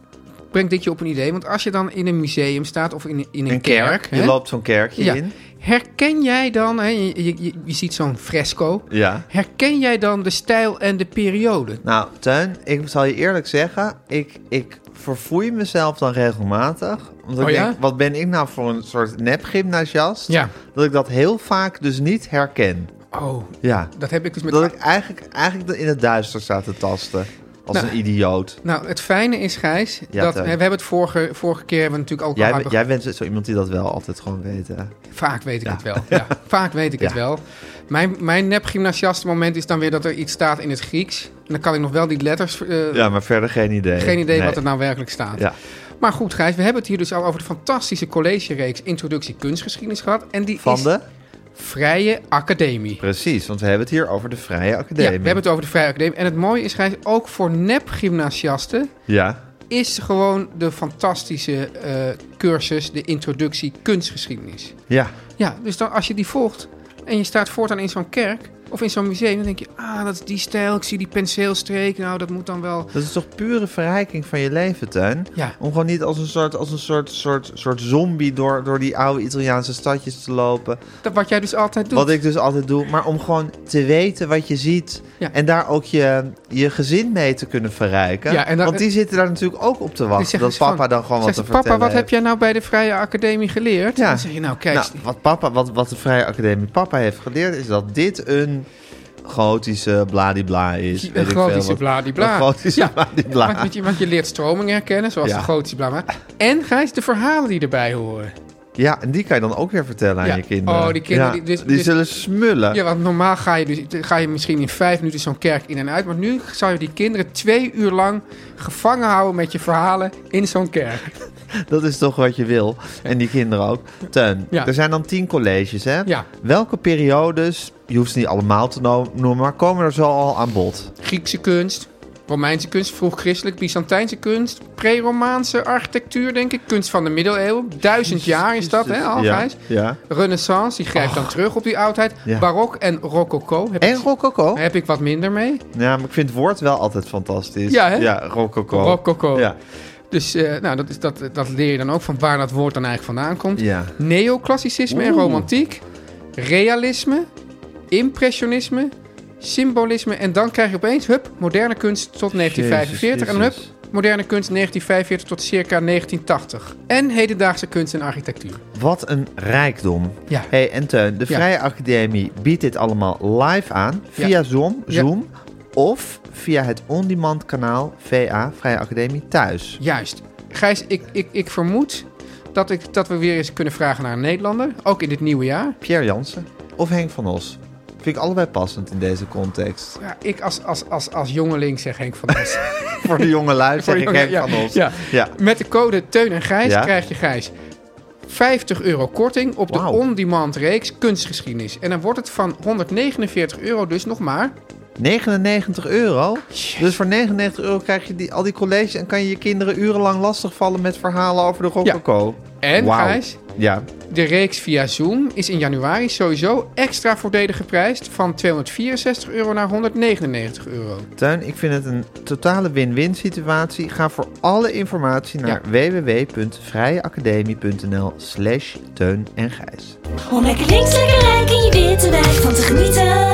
[SPEAKER 2] brengt dit je op een idee. Want als je dan in een museum staat of in, in een,
[SPEAKER 1] Een kerk.
[SPEAKER 2] hè,
[SPEAKER 1] je loopt zo'n kerkje
[SPEAKER 2] ja,
[SPEAKER 1] in.
[SPEAKER 2] herken jij dan, hè, je, je, je, je ziet zo'n fresco,
[SPEAKER 1] Ja.
[SPEAKER 2] herken jij dan de stijl en de periode?
[SPEAKER 1] Nou, Teun, ik zal je eerlijk zeggen, ik, ik verfoei mezelf dan regelmatig. Omdat
[SPEAKER 2] Oh
[SPEAKER 1] ik
[SPEAKER 2] ja?
[SPEAKER 1] denk, wat ben ik nou voor een soort nepgymnasiast?
[SPEAKER 2] Ja.
[SPEAKER 1] Dat ik dat heel vaak dus niet herken.
[SPEAKER 2] Oh,
[SPEAKER 1] Ja.
[SPEAKER 2] dat heb ik dus met...
[SPEAKER 1] Dat ik eigenlijk, eigenlijk in het duister sta te tasten. Als
[SPEAKER 2] Nou,
[SPEAKER 1] een idioot.
[SPEAKER 2] Nou, het fijne is, Gijs,
[SPEAKER 1] Ja,
[SPEAKER 2] dat
[SPEAKER 1] Teun.
[SPEAKER 2] hè, we hebben het vorige, vorige keer hebben we natuurlijk ook al
[SPEAKER 1] Jij,
[SPEAKER 2] hebben-
[SPEAKER 1] jij bent zo iemand die dat wel altijd gewoon weet, hè?
[SPEAKER 2] Vaak weet ik het wel. Ja, vaak weet ik
[SPEAKER 1] Ja.
[SPEAKER 2] het wel. Mijn, mijn nep-gymnasiaste moment is dan weer dat er iets staat in het Grieks. En dan kan ik nog wel die letters... eh,
[SPEAKER 1] Ja, maar verder geen idee.
[SPEAKER 2] Geen idee
[SPEAKER 1] Nee.
[SPEAKER 2] wat er nou werkelijk staat.
[SPEAKER 1] Ja.
[SPEAKER 2] Maar goed, Gijs, we hebben het hier dus al over de fantastische collegereeks Introductie Kunstgeschiedenis gehad. En die
[SPEAKER 1] Van
[SPEAKER 2] is
[SPEAKER 1] de?
[SPEAKER 2] Vrije Academie.
[SPEAKER 1] Precies, want we hebben het hier over de Vrije
[SPEAKER 2] Ja,
[SPEAKER 1] Academie.
[SPEAKER 2] we hebben het over de Vrije Academie. En het mooie is, Gijs, ook voor nep-gymnasiasten
[SPEAKER 1] Ja,
[SPEAKER 2] is gewoon de fantastische eh, cursus, de Introductie Kunstgeschiedenis.
[SPEAKER 1] ja.
[SPEAKER 2] Ja, dus dan, als je die volgt en je staat voortaan in zo'n kerk of in zo'n museum, dan denk je, ah, dat is die stijl, ik zie die penseelstreek, nou, dat moet dan wel...
[SPEAKER 1] Dat is toch pure verrijking van je leven, Tuin?
[SPEAKER 2] Ja.
[SPEAKER 1] Om gewoon niet als een soort, als een soort, soort, soort zombie door, door die oude Italiaanse stadjes te lopen.
[SPEAKER 2] Dat wat jij dus altijd doet.
[SPEAKER 1] Wat ik dus altijd doe. Maar om gewoon te weten wat je ziet.
[SPEAKER 2] Ja.
[SPEAKER 1] En daar ook je, je gezin mee te kunnen verrijken.
[SPEAKER 2] Ja, en dan-
[SPEAKER 1] Want die zitten daar natuurlijk ook op te wachten.
[SPEAKER 2] zeggen
[SPEAKER 1] Dat
[SPEAKER 2] ze
[SPEAKER 1] papa
[SPEAKER 2] van-
[SPEAKER 1] dan gewoon wat
[SPEAKER 2] Zegt
[SPEAKER 1] te
[SPEAKER 2] ze, papa,
[SPEAKER 1] vertellen
[SPEAKER 2] wat heb
[SPEAKER 1] heeft.
[SPEAKER 2] jij nou bij de Vrije Academie geleerd?
[SPEAKER 1] Ja.
[SPEAKER 2] Dan zeg je, nou kijk,
[SPEAKER 1] Nou, wat, papa, wat, wat de Vrije Academie papa heeft geleerd... is dat dit een gotische bladibla is. dus Weet
[SPEAKER 2] een
[SPEAKER 1] ik veel
[SPEAKER 2] gotische
[SPEAKER 1] wat.
[SPEAKER 2] bladibla.
[SPEAKER 1] Een gotische
[SPEAKER 2] ja.
[SPEAKER 1] bladibla.
[SPEAKER 2] Want je, want je leert stromingen herkennen, zoals
[SPEAKER 1] Ja.
[SPEAKER 2] de gotische bladibla. En Gijs, de verhalen die erbij horen.
[SPEAKER 1] Ja, en die kan je dan ook weer vertellen
[SPEAKER 2] Ja.
[SPEAKER 1] aan je kinderen.
[SPEAKER 2] Oh, die kinderen,
[SPEAKER 1] Ja,
[SPEAKER 2] die- dus-
[SPEAKER 1] die
[SPEAKER 2] dus-
[SPEAKER 1] zullen smullen.
[SPEAKER 2] Ja, want normaal ga je, dus, ga je misschien in vijf minuten zo'n kerk in en uit. Maar nu zou je die kinderen twee uur lang gevangen houden met je verhalen in zo'n kerk.
[SPEAKER 1] Dat is toch wat je wil. En die kinderen ook. Teun,
[SPEAKER 2] Ja.
[SPEAKER 1] er zijn dan tien colleges, hè?
[SPEAKER 2] Ja.
[SPEAKER 1] Welke periodes, je hoeft ze niet allemaal te no- noemen, maar komen er zo al aan bod?
[SPEAKER 2] Griekse kunst, Romeinse kunst, vroeg-christelijk, Byzantijnse kunst, pre-Romaanse architectuur, denk ik. Kunst van de middeleeuwen. Duizend jaar is dat, hè, al,
[SPEAKER 1] ja,
[SPEAKER 2] Gijs?
[SPEAKER 1] ja.
[SPEAKER 2] Renaissance, die grijpt dan terug op die oudheid.
[SPEAKER 1] Ja.
[SPEAKER 2] Barok en rococo. Heb
[SPEAKER 1] En
[SPEAKER 2] ik,
[SPEAKER 1] rococo?
[SPEAKER 2] heb ik wat minder mee.
[SPEAKER 1] Ja, maar ik vind het woord wel altijd fantastisch.
[SPEAKER 2] Ja, hè?
[SPEAKER 1] Ja, rococo.
[SPEAKER 2] Rococo.
[SPEAKER 1] Ja,
[SPEAKER 2] Dus eh, nou, dat, is, dat, dat leer je dan ook van waar dat woord dan eigenlijk vandaan komt.
[SPEAKER 1] ja.
[SPEAKER 2] Neoclassicisme en
[SPEAKER 1] Oeh.
[SPEAKER 2] romantiek. Realisme. Impressionisme. Symbolisme. En dan krijg je opeens, hup, moderne kunst tot 1945. en dan,
[SPEAKER 1] Jezus,
[SPEAKER 2] hup, moderne kunst 1945 tot circa 1980. En hedendaagse kunst en architectuur.
[SPEAKER 1] Wat een rijkdom.
[SPEAKER 2] Ja.
[SPEAKER 1] hey, en Teun, de
[SPEAKER 2] Ja.
[SPEAKER 1] Vrije Academie biedt dit allemaal live aan via
[SPEAKER 2] Ja.
[SPEAKER 1] Zoom,
[SPEAKER 2] Ja.
[SPEAKER 1] Zoom of via het on-demand kanaal VA, Vrije Academie Thuis.
[SPEAKER 2] Juist. Gijs, ik, ik, ik vermoed dat, ik, dat we weer eens kunnen vragen naar een Nederlander. Ook in dit nieuwe jaar.
[SPEAKER 1] Pierre Jansen of Henk van Os? Vind ik allebei passend in deze context.
[SPEAKER 2] Ja, ik als, als, als, als jongeling zeg Henk van Os.
[SPEAKER 1] Voor de jonge lui
[SPEAKER 2] Voor
[SPEAKER 1] zeg ik
[SPEAKER 2] jonge-
[SPEAKER 1] Henk
[SPEAKER 2] ja,
[SPEAKER 1] van ons.
[SPEAKER 2] ja.
[SPEAKER 1] ja.
[SPEAKER 2] Met de code Teun en Gijs
[SPEAKER 1] Ja.
[SPEAKER 2] krijg je Gijs 50 euro korting op
[SPEAKER 1] Wauw.
[SPEAKER 2] de on-demand reeks kunstgeschiedenis. En dan wordt het van 149 euro dus nog maar...
[SPEAKER 1] 99 euro. Dus voor 99 euro krijg je die, al die college en kan je je kinderen urenlang lastigvallen met verhalen over de Rococo.
[SPEAKER 2] En,
[SPEAKER 1] Wauw.
[SPEAKER 2] Gijs?
[SPEAKER 1] Ja.
[SPEAKER 2] De reeks via Zoom is in januari sowieso extra voordelig geprijsd van 264 euro naar 199 euro.
[SPEAKER 1] Tuin, ik vind het een totale win-win situatie. Ga voor alle informatie naar www.vrijeacademie.nl slash Teun en Gijs.
[SPEAKER 5] Om lekker links, lekker rijk in je witte wijk van te genieten.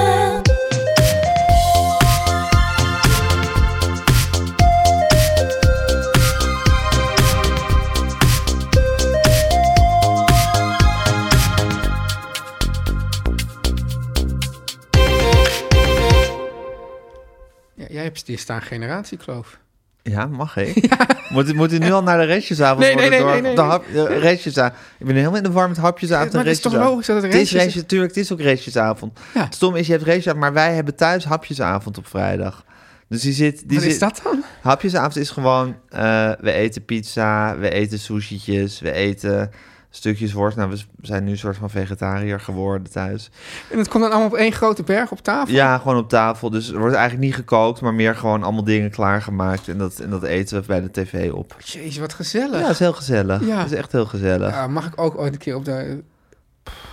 [SPEAKER 2] Ja, jij hebt hier staan generatiekloof.
[SPEAKER 1] Ja, mag ik? Moet, moet u nu al naar de restjesavond
[SPEAKER 2] Nee,
[SPEAKER 1] worden
[SPEAKER 2] nee, nee,
[SPEAKER 1] door-
[SPEAKER 2] nee,
[SPEAKER 1] de
[SPEAKER 2] nee.
[SPEAKER 1] hap, de restjesavond. Ik ben helemaal in de warm met hapjesavond
[SPEAKER 2] Maar
[SPEAKER 1] en
[SPEAKER 2] het is toch
[SPEAKER 1] restjesavond.
[SPEAKER 2] logisch dat het
[SPEAKER 1] Het is
[SPEAKER 2] restjes-
[SPEAKER 1] restjes, natuurlijk, het is ook restjesavond.
[SPEAKER 2] Ja.
[SPEAKER 1] Het stom is, je hebt restjesavond, maar wij hebben thuis hapjesavond op vrijdag. Dus die zit... Die
[SPEAKER 2] Wat is
[SPEAKER 1] zit-
[SPEAKER 2] dat dan?
[SPEAKER 1] Hapjesavond is gewoon, eh, we eten pizza, we eten sushietjes, we eten stukjes worst. Nou, we s- zijn nu een soort van vegetariër geworden thuis.
[SPEAKER 2] En het komt dan allemaal op één grote berg op tafel.
[SPEAKER 1] Ja, gewoon op tafel. Dus er wordt eigenlijk niet gekookt, maar meer gewoon allemaal dingen klaargemaakt. En dat, en dat eten we bij de tv op.
[SPEAKER 2] Jezus, wat
[SPEAKER 1] Ja,
[SPEAKER 2] gezellig.
[SPEAKER 1] dat is heel gezellig.
[SPEAKER 2] Ja.
[SPEAKER 1] Dat is echt heel gezellig.
[SPEAKER 2] Ja, mag ik ook ooit een keer op de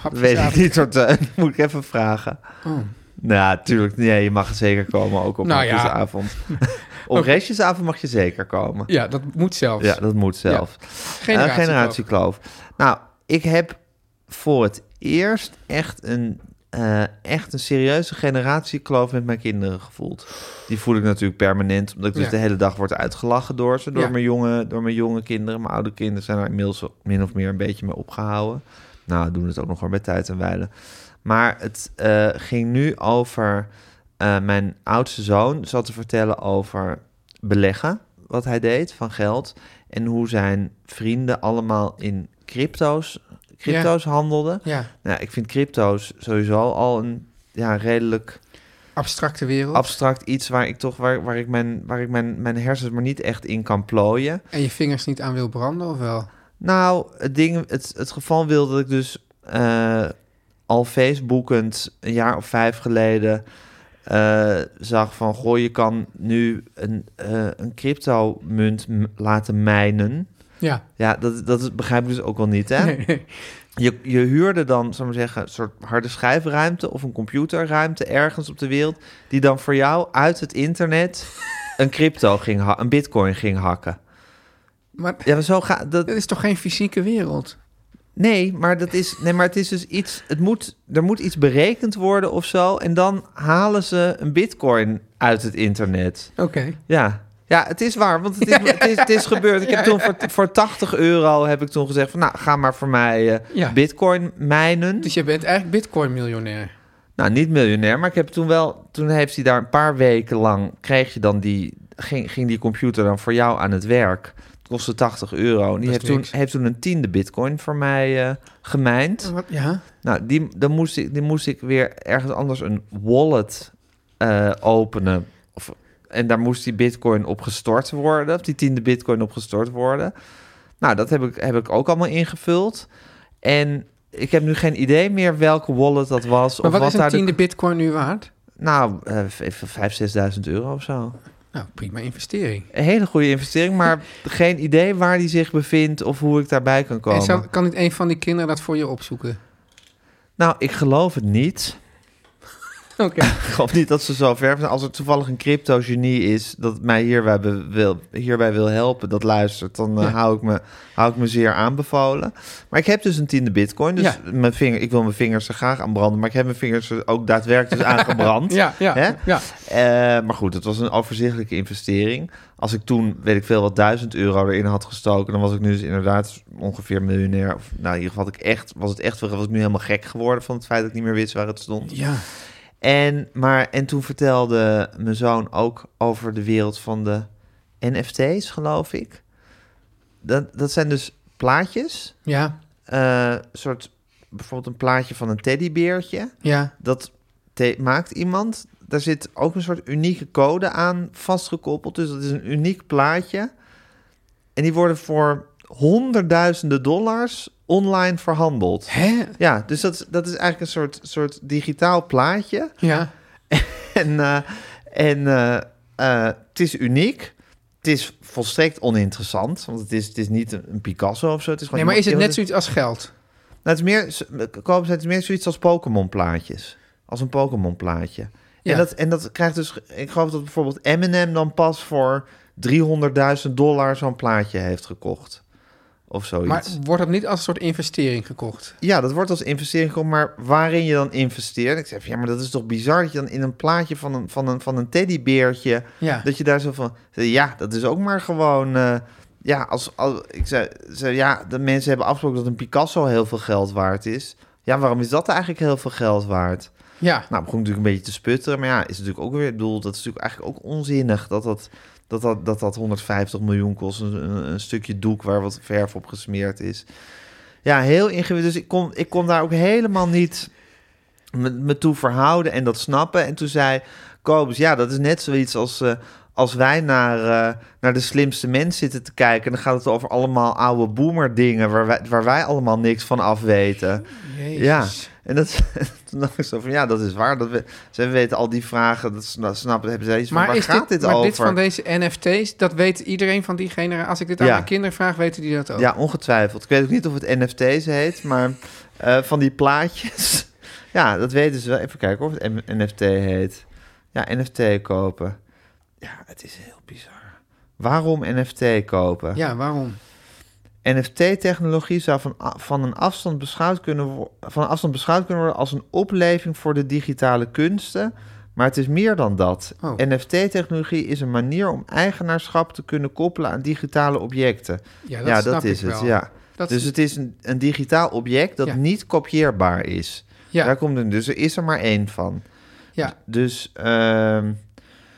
[SPEAKER 1] dat weet ik
[SPEAKER 2] hapjesavond?
[SPEAKER 1] niet, hoor, Teun. Moet ik even vragen.
[SPEAKER 2] Oh.
[SPEAKER 1] Nou, tuurlijk. Nee, je mag zeker komen, ook op
[SPEAKER 2] Nou ja.
[SPEAKER 1] hapjesavond. op restjesavond mag je zeker komen.
[SPEAKER 2] Ja, dat moet zelfs.
[SPEAKER 1] Ja, dat moet zelf.
[SPEAKER 2] Generatiekloof.
[SPEAKER 1] Eh, generatiekloof. Nou, ik heb voor het eerst echt een, eh, echt een serieuze generatiekloof met mijn kinderen gevoeld. Die voel ik natuurlijk permanent, omdat ik dus
[SPEAKER 2] Ja.
[SPEAKER 1] de hele dag word uitgelachen door ze, door,
[SPEAKER 2] Ja.
[SPEAKER 1] mijn jonge, door mijn jonge kinderen. Mijn oude kinderen zijn er inmiddels min of meer een beetje mee opgehouden. Nou, doen het ook nog wel bij tijd en wijle. Maar het eh, ging nu over eh, mijn oudste zoon zat te vertellen over beleggen, wat hij deed van geld. En hoe zijn vrienden allemaal in crypto's, crypto's handelden.
[SPEAKER 2] Ja,
[SPEAKER 1] Nou, ik vind crypto's sowieso al een ja, redelijk
[SPEAKER 2] abstracte wereld.
[SPEAKER 1] abstract iets waar ik toch waar, waar ik, mijn, waar ik mijn, mijn hersens maar niet echt in kan plooien.
[SPEAKER 2] en je vingers niet aan wil branden, of wel?
[SPEAKER 1] Nou, het, ding, het, het geval wil dat ik dus eh, al facebookend een jaar of vijf geleden eh, zag van... goh, je kan nu een, eh een cryptomunt m- laten mijnen.
[SPEAKER 2] Ja.
[SPEAKER 1] Ja, dat, dat is- begrijp ik dus ook wel niet, hè? Je, je huurde dan, zou ik maar zeggen, een soort harde schijfruimte... of een computerruimte ergens op de wereld... die dan voor jou uit het internet een crypto ging... ha- een bitcoin ging hakken.
[SPEAKER 2] Maar
[SPEAKER 1] Ja, maar zo gaat... Dat,
[SPEAKER 2] dat is toch geen fysieke wereld?
[SPEAKER 1] Nee, maar dat is. Nee, maar het is dus iets. Het moet, er moet iets berekend worden of zo. En dan halen ze een bitcoin uit het internet.
[SPEAKER 2] Oké.
[SPEAKER 1] Ja. Ja, het is waar, want het is, het is, het is gebeurd. Ik heb toen voor, voor 80 euro heb ik toen gezegd van... nou, ga maar voor mij eh,
[SPEAKER 2] Ja.
[SPEAKER 1] bitcoin mijnen.
[SPEAKER 2] Dus je bent eigenlijk bitcoin-miljonair.
[SPEAKER 1] Nou, niet miljonair, maar ik heb toen wel... toen heeft hij daar een paar weken lang... kreeg je dan die... ging, ging die computer dan voor jou aan het werk. Het kostte 80 euro. En die
[SPEAKER 2] is
[SPEAKER 1] heeft toen,
[SPEAKER 2] niks. Oh,
[SPEAKER 1] heeft toen een tiende bitcoin voor mij eh gemijnd.
[SPEAKER 2] Wat? Ja.
[SPEAKER 1] Nou, die, dan moest ik, die moest ik weer ergens anders een wallet eh, openen. Of, en daar moest die bitcoin op gestort worden. Of die tiende bitcoin op gestort worden. Nou, dat heb ik, heb ik ook allemaal ingevuld. En ik heb nu geen idee meer welke wallet dat was.
[SPEAKER 2] Maar
[SPEAKER 1] of
[SPEAKER 2] wat, is een
[SPEAKER 1] daar de-
[SPEAKER 2] tiende bitcoin nu waard?
[SPEAKER 1] Nou, eh, v- even 5.000, 6.000 euro of zo.
[SPEAKER 2] Nou, prima investering.
[SPEAKER 1] Een hele goede investering, maar geen idee waar die zich bevindt of hoe ik daarbij kan komen.
[SPEAKER 2] En zou, kan niet een van die kinderen dat voor je opzoeken?
[SPEAKER 1] Nou, ik geloof het niet.
[SPEAKER 2] Oké.
[SPEAKER 1] Ik geloof niet dat ze zo ver zijn. Als er toevallig een crypto-genie is dat mij hierbij be- wil, hierbij wil helpen, dat luistert, dan eh,
[SPEAKER 2] Ja.
[SPEAKER 1] hou, ik me, hou ik me zeer aanbevolen. Maar ik heb dus een tiende bitcoin, dus
[SPEAKER 2] Ja.
[SPEAKER 1] mijn vinger, ik wil mijn vingers er graag aan branden, maar ik heb mijn vingers er ook daadwerkelijk dus aan gebrand.
[SPEAKER 2] Ja, ja,
[SPEAKER 1] Hè?
[SPEAKER 2] ja.
[SPEAKER 1] Eh, maar goed, het was een overzichtelijke investering. Als ik toen, weet ik veel, wat duizend euro erin had gestoken, dan was ik nu dus inderdaad ongeveer miljonair. Of, nou, in ieder geval had ik echt, was het echt, was ik nu helemaal gek geworden van het feit dat ik niet meer wist waar het stond.
[SPEAKER 2] Ja.
[SPEAKER 1] En, maar, en toen vertelde mijn zoon ook over de wereld van de NFT's, geloof ik. Dat, dat zijn dus plaatjes.
[SPEAKER 2] Ja.
[SPEAKER 1] eh soort, bijvoorbeeld een plaatje van een teddybeertje.
[SPEAKER 2] Ja.
[SPEAKER 1] Dat te- maakt iemand. Daar zit ook een soort unieke code aan vastgekoppeld. Dus dat is een uniek plaatje. En die worden voor honderdduizenden dollars online verhandeld.
[SPEAKER 2] Hè?
[SPEAKER 1] Ja, dus dat, is- dat is eigenlijk een soort, soort digitaal plaatje.
[SPEAKER 2] Ja.
[SPEAKER 1] En, eh, en eh, eh, het is uniek. Het is volstrekt oninteressant, want het is, het is niet een een Picasso of zo. Het is gewoon
[SPEAKER 2] Nee, maar is het net
[SPEAKER 1] iemand-
[SPEAKER 2] zoiets als geld?
[SPEAKER 1] Nou, het is meer, z- Kobus, het is meer zoiets als Pokémon plaatjes. Als een Pokémon plaatje.
[SPEAKER 2] Ja.
[SPEAKER 1] En, dat, en dat krijgt dus... Ik geloof dat bijvoorbeeld Eminem dan pas voor 300.000 dollar zo'n plaatje heeft gekocht. Of zoiets.
[SPEAKER 2] Maar wordt dat niet als een soort investering gekocht?
[SPEAKER 1] Ja, dat wordt als investering gekocht, maar waarin je dan investeert. Ik zeg, ja, maar dat is toch bizar dat je dan in een plaatje van een, van een, van een teddybeertje,
[SPEAKER 2] Ja.
[SPEAKER 1] dat je daar zo van, ja, dat is ook maar gewoon, eh, ja, als, als ik zei, zei, ja, de mensen hebben afgesproken dat een Picasso heel veel geld waard is. Ja, waarom is dat eigenlijk heel veel geld waard?
[SPEAKER 2] Ja.
[SPEAKER 1] Nou, begon ik natuurlijk een beetje te sputteren, maar ja, is natuurlijk ook weer, ik bedoel, dat is natuurlijk eigenlijk ook onzinnig dat dat, dat, dat, dat, dat 150 miljoen kost, een, een- een stukje doek waar wat verf op gesmeerd is. Ja, heel ingewikkeld. Dus ik kon, ik kon daar ook helemaal niet me, me toe verhouden en dat snappen. En toen zei Kobus, ja, dat is net zoiets als... eh, als wij naar, eh, naar de slimste mens zitten te kijken... dan gaat het over allemaal oude boomer dingen... waar wij, waar wij allemaal niks van af weten. Ja,
[SPEAKER 2] Jezus.
[SPEAKER 1] en dat, toen dacht ik zo van, ja, dat is waar. Dat we, ze weten al die vragen, dat, sna- snappen, hebben zij iets van,
[SPEAKER 2] Maar
[SPEAKER 1] waar
[SPEAKER 2] is
[SPEAKER 1] gaat dit,
[SPEAKER 2] dit, maar
[SPEAKER 1] over?
[SPEAKER 2] dit van deze NFT's, dat weet iedereen van die generatie. Als ik dit aan
[SPEAKER 1] Ja.
[SPEAKER 2] mijn kinderen vraag, weten die dat ook.
[SPEAKER 1] Ja, ongetwijfeld. Ik weet ook niet of het NFT's heet, maar eh, van die plaatjes. ja, dat weten ze wel. Even kijken of het M- NFT heet. Ja, NFT kopen. Ja, het is heel bizar. Waarom NFT kopen?
[SPEAKER 2] Ja, waarom?
[SPEAKER 1] NFT-technologie zou van, a- van, een afstand beschouwd kunnen, wo- van afstand beschouwd kunnen worden als een opleving voor de digitale kunsten. Maar het is meer dan dat.
[SPEAKER 2] Oh.
[SPEAKER 1] NFT-technologie is een manier om eigenaarschap te kunnen koppelen aan digitale objecten.
[SPEAKER 2] Ja, dat snap
[SPEAKER 1] is
[SPEAKER 2] ik
[SPEAKER 1] het.
[SPEAKER 2] wel.
[SPEAKER 1] Ja.
[SPEAKER 2] Dat-
[SPEAKER 1] dus het is een, een digitaal object dat
[SPEAKER 2] Ja.
[SPEAKER 1] niet kopieerbaar is.
[SPEAKER 2] Ja.
[SPEAKER 1] Daar komt het. Dus er is er maar één van.
[SPEAKER 2] Ja.
[SPEAKER 1] Dus ehm,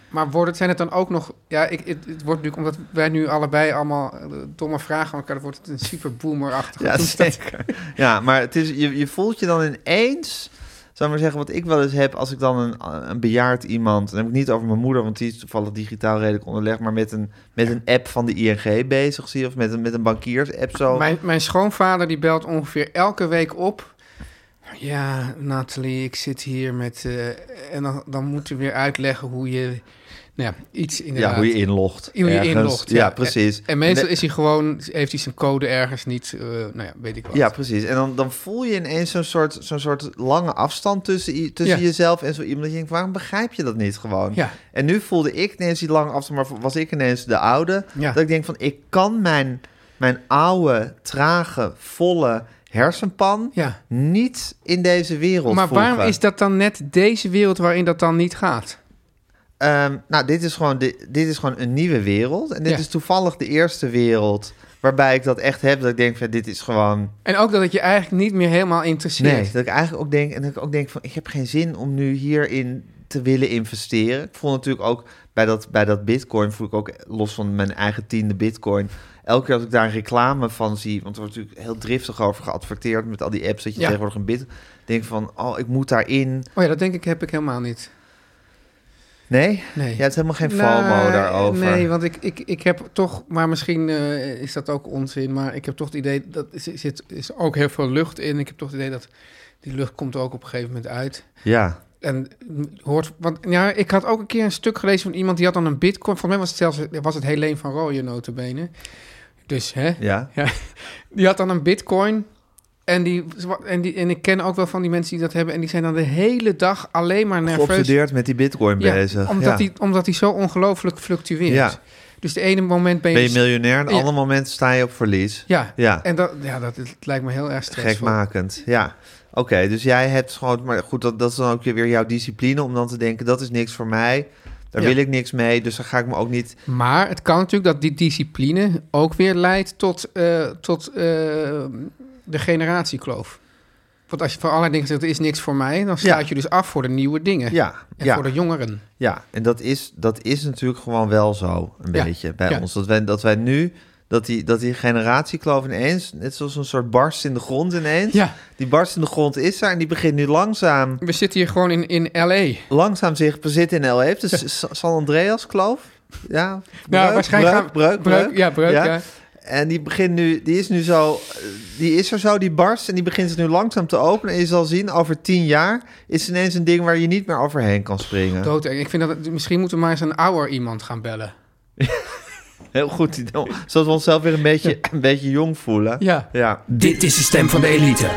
[SPEAKER 2] Maar wordt het, zijn het dan ook nog... Ja, ik, het, het wordt natuurlijk, omdat wij nu allebei allemaal eh, domme vragen aan elkaar... wordt het een super boomer-achtige
[SPEAKER 1] Ja,
[SPEAKER 2] toestand.
[SPEAKER 1] zeker. Ja, maar het is, je, je voelt je dan ineens... Zou maar zeggen, wat ik wel eens heb als ik dan een, een bejaard iemand... dan heb ik niet over mijn moeder, want die is toevallig digitaal redelijk onderlegd... maar met een, met een app van de ING bezig zie je... of met een, met een bankiers-app zo.
[SPEAKER 2] Mijn, mijn schoonvader die belt ongeveer elke week op. Ja, Nathalie, ik zit hier met... eh, en dan, dan moet je weer uitleggen hoe je... Nou ja, iets inderdaad.
[SPEAKER 1] ja, hoe je inlogt.
[SPEAKER 2] Hoe je
[SPEAKER 1] ergens.
[SPEAKER 2] inlogt,
[SPEAKER 1] Ja,
[SPEAKER 2] ja.
[SPEAKER 1] precies.
[SPEAKER 2] En meestal
[SPEAKER 1] Nee,
[SPEAKER 2] is hij gewoon... Heeft hij zijn code ergens niet... eh, nou ja, weet ik wat.
[SPEAKER 1] Ja, precies. En dan, dan voel je ineens zo'n soort, zo'n soort lange afstand tussen, i- tussen
[SPEAKER 2] Ja.
[SPEAKER 1] jezelf en zo iemand. Dat je denkt, waarom begrijp je dat niet gewoon?
[SPEAKER 2] Ja.
[SPEAKER 1] En nu voelde ik ineens die lange afstand, maar was ik ineens de oude.
[SPEAKER 2] Ja.
[SPEAKER 1] Dat ik denk van, ik kan mijn, mijn oude, trage, volle hersenpan
[SPEAKER 2] Ja.
[SPEAKER 1] niet in deze wereld
[SPEAKER 2] Maar waarom
[SPEAKER 1] voegen.
[SPEAKER 2] is dat dan net deze wereld waarin dat dan niet gaat?
[SPEAKER 1] Ehm, nou, dit is, gewoon, dit, dit is gewoon een nieuwe wereld. En dit
[SPEAKER 2] Ja.
[SPEAKER 1] is toevallig de eerste wereld waarbij ik dat echt heb. Dat ik denk van, dit is gewoon...
[SPEAKER 2] En ook dat het je eigenlijk niet meer helemaal interesseert.
[SPEAKER 1] Nee, dat ik eigenlijk ook denk, en dat ik ook denk van, ik heb geen zin om nu hierin te willen investeren. Ik voel natuurlijk ook bij dat, bij dat bitcoin, voel ik ook los van mijn eigen tiende bitcoin, elke keer als ik daar een reclame van zie, want er wordt natuurlijk heel driftig over geadverteerd met al die apps dat je
[SPEAKER 2] Ja.
[SPEAKER 1] tegenwoordig een bit, denk van, oh, ik moet daarin.
[SPEAKER 2] Oh ja, dat denk ik heb ik helemaal niet.
[SPEAKER 1] Nee?
[SPEAKER 2] Nee.
[SPEAKER 1] Ja, het is helemaal geen
[SPEAKER 2] Nou,
[SPEAKER 1] FOMO daarover.
[SPEAKER 2] Nee, want ik, ik, ik heb toch, maar misschien eh, is dat ook onzin, maar ik heb toch het idee dat er zit is ook heel veel lucht in. Ik heb toch het idee dat die lucht komt er ook op een gegeven moment uit.
[SPEAKER 1] Ja.
[SPEAKER 2] En mm, hoort, want ja, ik had ook een keer een stuk gelezen van iemand die had dan een bitcoin. Volgens mij was het zelfs was het Helene van Rooyen notabene. Dus hè,
[SPEAKER 1] Ja.
[SPEAKER 2] Ja, die had dan een bitcoin. En, die, en, die, en ik ken ook wel van die mensen die dat hebben. En die zijn dan de hele dag alleen maar nerveus.
[SPEAKER 1] Geobsedeerd met die bitcoin
[SPEAKER 2] Ja,
[SPEAKER 1] bezig.
[SPEAKER 2] Omdat,
[SPEAKER 1] ja.
[SPEAKER 2] Die, omdat die zo ongelooflijk fluctueert.
[SPEAKER 1] Ja.
[SPEAKER 2] Dus de ene moment ben je...
[SPEAKER 1] Ben je miljonair en
[SPEAKER 2] Ja.
[SPEAKER 1] alle momenten sta je op verlies.
[SPEAKER 2] ja.
[SPEAKER 1] Ja.
[SPEAKER 2] en dat, ja, dat, het lijkt me heel erg stressvol.
[SPEAKER 1] Gekmakend, ja. Oké, dus jij hebt gewoon... Maar goed, dat, dat is dan ook weer jouw discipline om dan te denken... dat is niks voor mij, daar
[SPEAKER 2] Ja.
[SPEAKER 1] wil ik niks mee... dus dan ga ik me ook niet...
[SPEAKER 2] Maar het kan natuurlijk dat die discipline ook weer leidt tot, eh, tot eh, de generatiekloof. Want als je van allerlei dingen zegt, er is niks voor mij... dan sluit je dus af voor de nieuwe dingen.
[SPEAKER 1] Ja,
[SPEAKER 2] En
[SPEAKER 1] ja,
[SPEAKER 2] voor de jongeren.
[SPEAKER 1] ja. en dat is, dat is natuurlijk gewoon wel zo, een
[SPEAKER 2] Ja,
[SPEAKER 1] beetje, bij
[SPEAKER 2] ja.
[SPEAKER 1] ons. Dat wij, dat wij nu Dat die, dat die generatiekloof ineens, net zoals een soort barst in de grond ineens.
[SPEAKER 2] Ja.
[SPEAKER 1] Die barst in de grond is er en die begint nu langzaam,
[SPEAKER 2] We zitten hier gewoon in, in L.A.
[SPEAKER 1] langzaam zich bezitten in L.A. Dus Sa- San Andreas kloof. Ja, breuk,
[SPEAKER 2] Nou, waarschijnlijk
[SPEAKER 1] breuk, breuk,
[SPEAKER 2] gaan- breuk, ja, breuk, ja.
[SPEAKER 1] En die begint nu, die is nu zo, die is er zo, die barst. En die begint zich nu langzaam te openen. En je zal zien, over tien jaar is het ineens een ding waar je niet meer overheen kan springen.
[SPEAKER 2] doodeng. Ik vind dat het- misschien moeten we maar eens een ouder iemand gaan bellen.
[SPEAKER 1] Heel goed, idee. zodat we onszelf weer een beetje, een beetje jong voelen.
[SPEAKER 2] Ja.
[SPEAKER 1] ja.
[SPEAKER 4] Dit is de stem van de elite.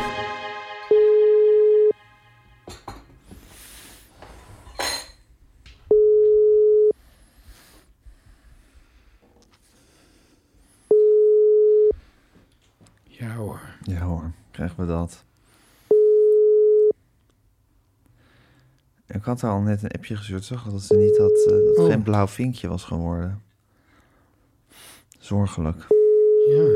[SPEAKER 2] Ja hoor.
[SPEAKER 1] Ja hoor, krijgen we dat. Ik had haar al net een appje gestuurd, zag ik dat ze niet had, eh, dat het
[SPEAKER 2] Oh.
[SPEAKER 1] geen blauw vinkje was geworden. Zorgelijk.
[SPEAKER 2] Ja.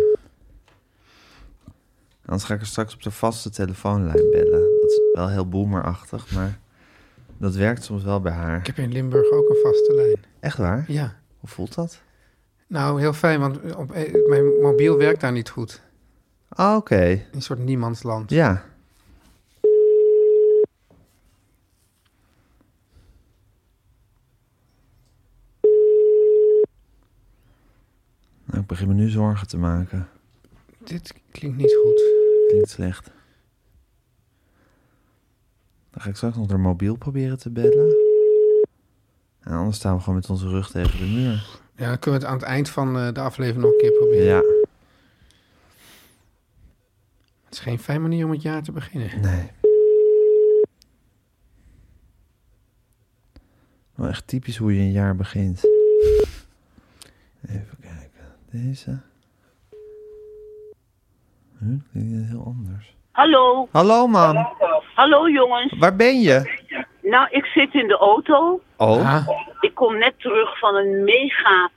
[SPEAKER 1] Anders ga ik er straks op de vaste telefoonlijn bellen. Dat is wel heel boomerachtig, maar dat werkt soms wel bij
[SPEAKER 2] Ik
[SPEAKER 1] haar.
[SPEAKER 2] heb in Limburg ook een vaste lijn.
[SPEAKER 1] Echt waar?
[SPEAKER 2] Ja.
[SPEAKER 1] Hoe voelt dat?
[SPEAKER 2] Nou, heel fijn, want op, eh, mijn mobiel werkt daar niet goed.
[SPEAKER 1] Ah, Oké,
[SPEAKER 2] Een soort niemandsland.
[SPEAKER 1] ja. Nou, ik begin me nu zorgen te maken.
[SPEAKER 2] Dit klinkt niet goed.
[SPEAKER 1] Klinkt slecht. Dan ga ik straks nog door mobiel proberen te bellen. En anders staan we gewoon met onze rug tegen de muur.
[SPEAKER 2] Ja, dan kunnen we het aan het eind van eh, de aflevering nog een keer proberen.
[SPEAKER 1] Ja,
[SPEAKER 2] Het is geen fijn manier om het jaar te beginnen.
[SPEAKER 1] nee. Wel echt typisch hoe je een jaar begint. Even kijken. Deze. Hm, klinkt heel anders.
[SPEAKER 6] Hallo,
[SPEAKER 1] Hallo man,
[SPEAKER 6] hallo jongens.
[SPEAKER 1] waar ben je?
[SPEAKER 6] Nou, ik zit in de auto.
[SPEAKER 1] Oh,
[SPEAKER 2] Ah,
[SPEAKER 6] Ik kom net terug van een mega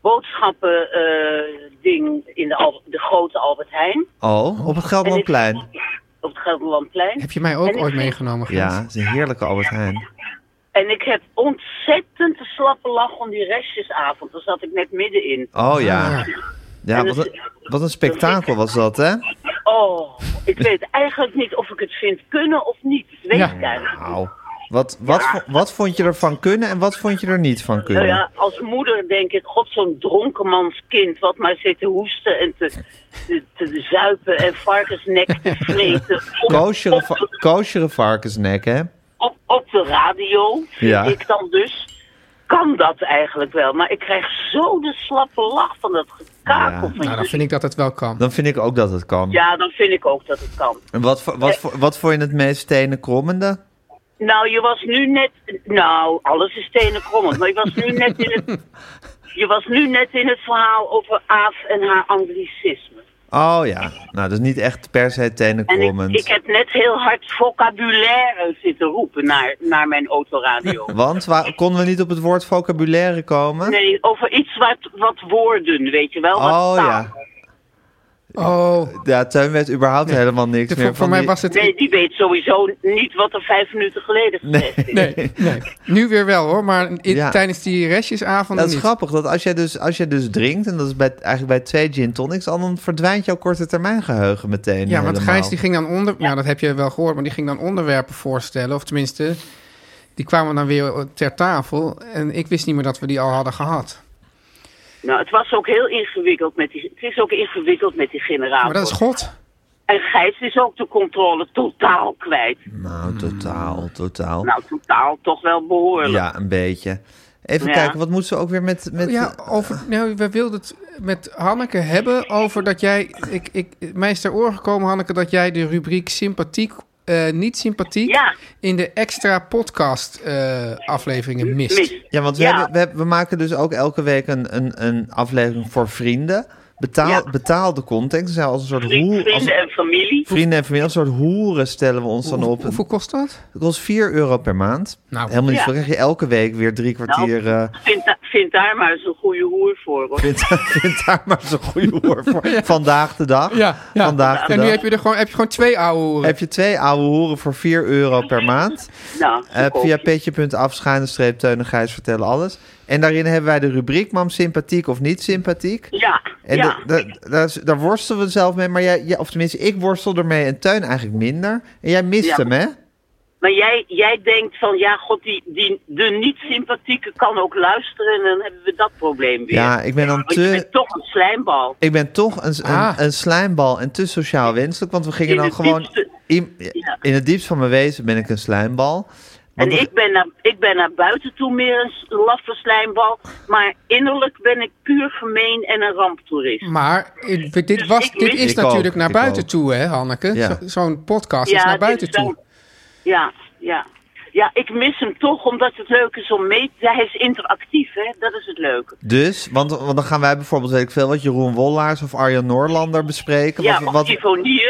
[SPEAKER 6] boodschappen eh, ding in de, Al- de grote Albert Heijn
[SPEAKER 1] oh, op het Gelderlandplein.
[SPEAKER 6] op het Gelderlandplein.
[SPEAKER 2] heb je mij ook
[SPEAKER 6] En ik
[SPEAKER 2] ooit
[SPEAKER 6] vind-
[SPEAKER 2] meegenomen? Gent?
[SPEAKER 1] Ja, het is een heerlijke Albert Heijn.
[SPEAKER 6] En ik heb ontzettend de slappe lach om die restjesavond. Daar zat ik net middenin.
[SPEAKER 1] Oh ja.
[SPEAKER 2] Ah,
[SPEAKER 1] Ja,
[SPEAKER 6] En
[SPEAKER 1] wat
[SPEAKER 6] het-
[SPEAKER 1] een, wat een spektakel was dat, hè?
[SPEAKER 6] Oh, ik weet eigenlijk niet of ik het vind kunnen of niet. Dat weet
[SPEAKER 2] Ja.
[SPEAKER 6] ik eigenlijk niet.
[SPEAKER 1] Au. Wat, wat, vo- wat vond je ervan kunnen en wat vond je er niet van
[SPEAKER 6] Nou
[SPEAKER 1] kunnen?
[SPEAKER 6] ja, als moeder denk ik, god, zo'n dronkenmanskind wat maar zit te hoesten en te, te, te zuipen en varkensnek te vreten. Op,
[SPEAKER 1] Koosjere,
[SPEAKER 6] op,
[SPEAKER 1] va- koosjere varkensnek, hè?
[SPEAKER 6] op, op de radio, vind
[SPEAKER 1] Ja.
[SPEAKER 6] ik dan dus, kan dat eigenlijk wel. Maar ik krijg zo de slappe lach van dat gekakel
[SPEAKER 1] Ja.
[SPEAKER 6] van
[SPEAKER 2] nou, dan
[SPEAKER 6] jullie.
[SPEAKER 2] vind ik dat het wel kan.
[SPEAKER 1] Dan vind ik ook dat het kan.
[SPEAKER 6] Ja, dan vind ik ook dat het kan.
[SPEAKER 1] En wat, vo- wat, vo- wat vond je het meest stenen krommende?
[SPEAKER 6] Nou, je was nu net. Nou, alles is stenen krommend. Maar je was nu net in het. Je was nu net in het verhaal over Aaf en haar anglicisme.
[SPEAKER 1] Oh ja, nou dat is niet echt per se tenen
[SPEAKER 6] En ik, ik
[SPEAKER 1] krommend.
[SPEAKER 6] heb net heel hard vocabulaire zitten roepen naar, naar mijn autoradio.
[SPEAKER 1] Want wa- konden we niet op het woord vocabulaire komen?
[SPEAKER 6] Nee, over iets wat, wat woorden, weet je wel. Wat
[SPEAKER 1] Oh
[SPEAKER 6] taal.
[SPEAKER 1] ja.
[SPEAKER 2] Oh,
[SPEAKER 1] Ja, Teun weet überhaupt helemaal niks
[SPEAKER 2] de-
[SPEAKER 1] meer van
[SPEAKER 2] voor, voor mij
[SPEAKER 1] die-
[SPEAKER 2] was het...
[SPEAKER 6] Nee, die weet sowieso niet wat er vijf minuten geleden gezegd is.
[SPEAKER 2] Nee, nee. Nu weer wel hoor, maar in-
[SPEAKER 1] Ja.
[SPEAKER 2] tijdens die restjesavond
[SPEAKER 1] Dat is
[SPEAKER 2] niet.
[SPEAKER 1] grappig, dat als jij dus, als jij dus drinkt, en dat is bij, eigenlijk bij twee gin tonics, al dan verdwijnt jouw korte termijn geheugen meteen.
[SPEAKER 2] Ja, want
[SPEAKER 1] helemaal.
[SPEAKER 2] Gijs die ging dan onder... Nou, dat heb je wel gehoord, maar die ging dan onderwerpen voorstellen. Of tenminste, die kwamen dan weer ter tafel. En ik wist niet meer dat we die al hadden gehad.
[SPEAKER 6] Nou, het was ook heel ingewikkeld met die. Het is ook ingewikkeld met die generator.
[SPEAKER 2] Maar dat is God.
[SPEAKER 6] En Gijs is ook de controle totaal kwijt.
[SPEAKER 1] Nou, totaal, totaal.
[SPEAKER 6] Nou, totaal toch wel behoorlijk.
[SPEAKER 1] ja, een beetje. Even
[SPEAKER 6] Ja.
[SPEAKER 1] kijken, wat moeten ze ook weer met... met
[SPEAKER 2] Ja, over, nou, we wilden het met Hanneke hebben over dat jij... Ik, ik, mij is ter oor gekomen, Hanneke, dat jij de rubriek sympathiek... eh, niet sympathiek
[SPEAKER 6] Ja.
[SPEAKER 2] in de extra podcast eh, afleveringen mist.
[SPEAKER 6] Mis.
[SPEAKER 1] Ja, want we,
[SPEAKER 6] Ja.
[SPEAKER 1] hebben- we, hebben- we maken dus ook elke week een, een, een aflevering voor vrienden. Betaal,
[SPEAKER 6] Ja.
[SPEAKER 1] Betaalde content. Dus als een soort hoer, als,
[SPEAKER 6] Vrienden en familie.
[SPEAKER 1] vrienden en familie, als een soort hoeren stellen we ons dan op.
[SPEAKER 2] Hoeveel kost dat?
[SPEAKER 1] Het kost 4 euro per maand.
[SPEAKER 2] Nou.
[SPEAKER 1] Helemaal niet
[SPEAKER 6] Ja. Nou.
[SPEAKER 1] veel. Dan krijg je elke week weer drie kwartier... eh,
[SPEAKER 6] Vind, da- vind daar maar eens een goede hoer voor. Hoor.
[SPEAKER 1] Vind, vind daar maar zo'n goede woord voor. Vandaag de dag.
[SPEAKER 2] Ja, ja.
[SPEAKER 1] Vandaag de
[SPEAKER 2] en nu
[SPEAKER 1] dag.
[SPEAKER 2] heb je er gewoon, heb je gewoon twee oude hoeren.
[SPEAKER 1] Heb je twee oude hoeren voor 4 euro per maand.
[SPEAKER 6] Nou,
[SPEAKER 1] Eh,
[SPEAKER 6] goedkoop.
[SPEAKER 1] via petje.af, schuine streep, Teun en Gijs vertellen alles. En daarin hebben wij de rubriek Mam sympathiek of niet sympathiek.
[SPEAKER 6] Ja,
[SPEAKER 1] En
[SPEAKER 6] ja.
[SPEAKER 1] da- da- daar is- daar worstelen we zelf mee. Maar jij, jij- of tenminste, ik worstel ermee en Tuin eigenlijk minder. En jij mist
[SPEAKER 6] Ja.
[SPEAKER 1] hem, hè?
[SPEAKER 6] Maar jij, jij denkt van, ja, god, die, die, de niet-sympathieke kan ook luisteren en dan hebben we dat probleem weer.
[SPEAKER 1] Ja, ik ben dan
[SPEAKER 6] Want je
[SPEAKER 1] te...
[SPEAKER 6] bent toch een slijmbal.
[SPEAKER 1] Ik ben toch een, een,
[SPEAKER 2] Ah.
[SPEAKER 1] een slijmbal en te sociaal wenselijk. Want we gingen
[SPEAKER 6] In
[SPEAKER 1] dan
[SPEAKER 6] het
[SPEAKER 1] gewoon...
[SPEAKER 6] diepste-
[SPEAKER 1] In,
[SPEAKER 6] Ja.
[SPEAKER 1] in het diepst van mijn wezen ben ik een slijmbal.
[SPEAKER 6] En
[SPEAKER 1] Want we-
[SPEAKER 6] ik ben, naar, ik ben naar buiten toe meer een s- laffe slijmbal, maar innerlijk ben ik puur gemeen en een ramptoerist.
[SPEAKER 2] Maar eh, dit, was, dit is
[SPEAKER 1] Ik ook,
[SPEAKER 2] natuurlijk naar
[SPEAKER 1] ik
[SPEAKER 2] buiten
[SPEAKER 1] ook.
[SPEAKER 2] toe, hè, Hanneke?
[SPEAKER 1] Ja.
[SPEAKER 2] Zo- Zo'n podcast is naar
[SPEAKER 6] dit
[SPEAKER 2] buiten
[SPEAKER 6] is wel-
[SPEAKER 2] toe.
[SPEAKER 6] Ja, ja. Ja, ik mis hem toch omdat het leuk is om mee te... Hij is interactief, hè. Dat is het leuke.
[SPEAKER 1] Dus, want, want dan gaan wij bijvoorbeeld, weet ik veel, wat Jeroen Wollaars of Arjan Noorlander bespreken.
[SPEAKER 6] Ja,
[SPEAKER 1] wat,
[SPEAKER 6] wat...
[SPEAKER 1] wat,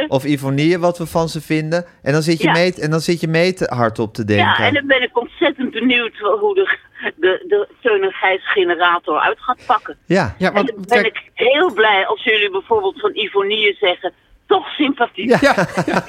[SPEAKER 1] of Ivonie, wat we van ze vinden. En dan zit je,
[SPEAKER 6] Ja.
[SPEAKER 1] mee, en dan zit je mee te hardop te denken.
[SPEAKER 6] Ja, en dan ben ik ontzettend benieuwd hoe de, de, de Teun en Gijs generator uit gaat pakken.
[SPEAKER 1] Ja.
[SPEAKER 2] Ja,
[SPEAKER 6] en
[SPEAKER 2] want
[SPEAKER 6] dan ben
[SPEAKER 2] kijk,
[SPEAKER 6] ik heel blij als jullie bijvoorbeeld van Ivonie zeggen... Toch sympathiek.
[SPEAKER 2] ja, ja, ja.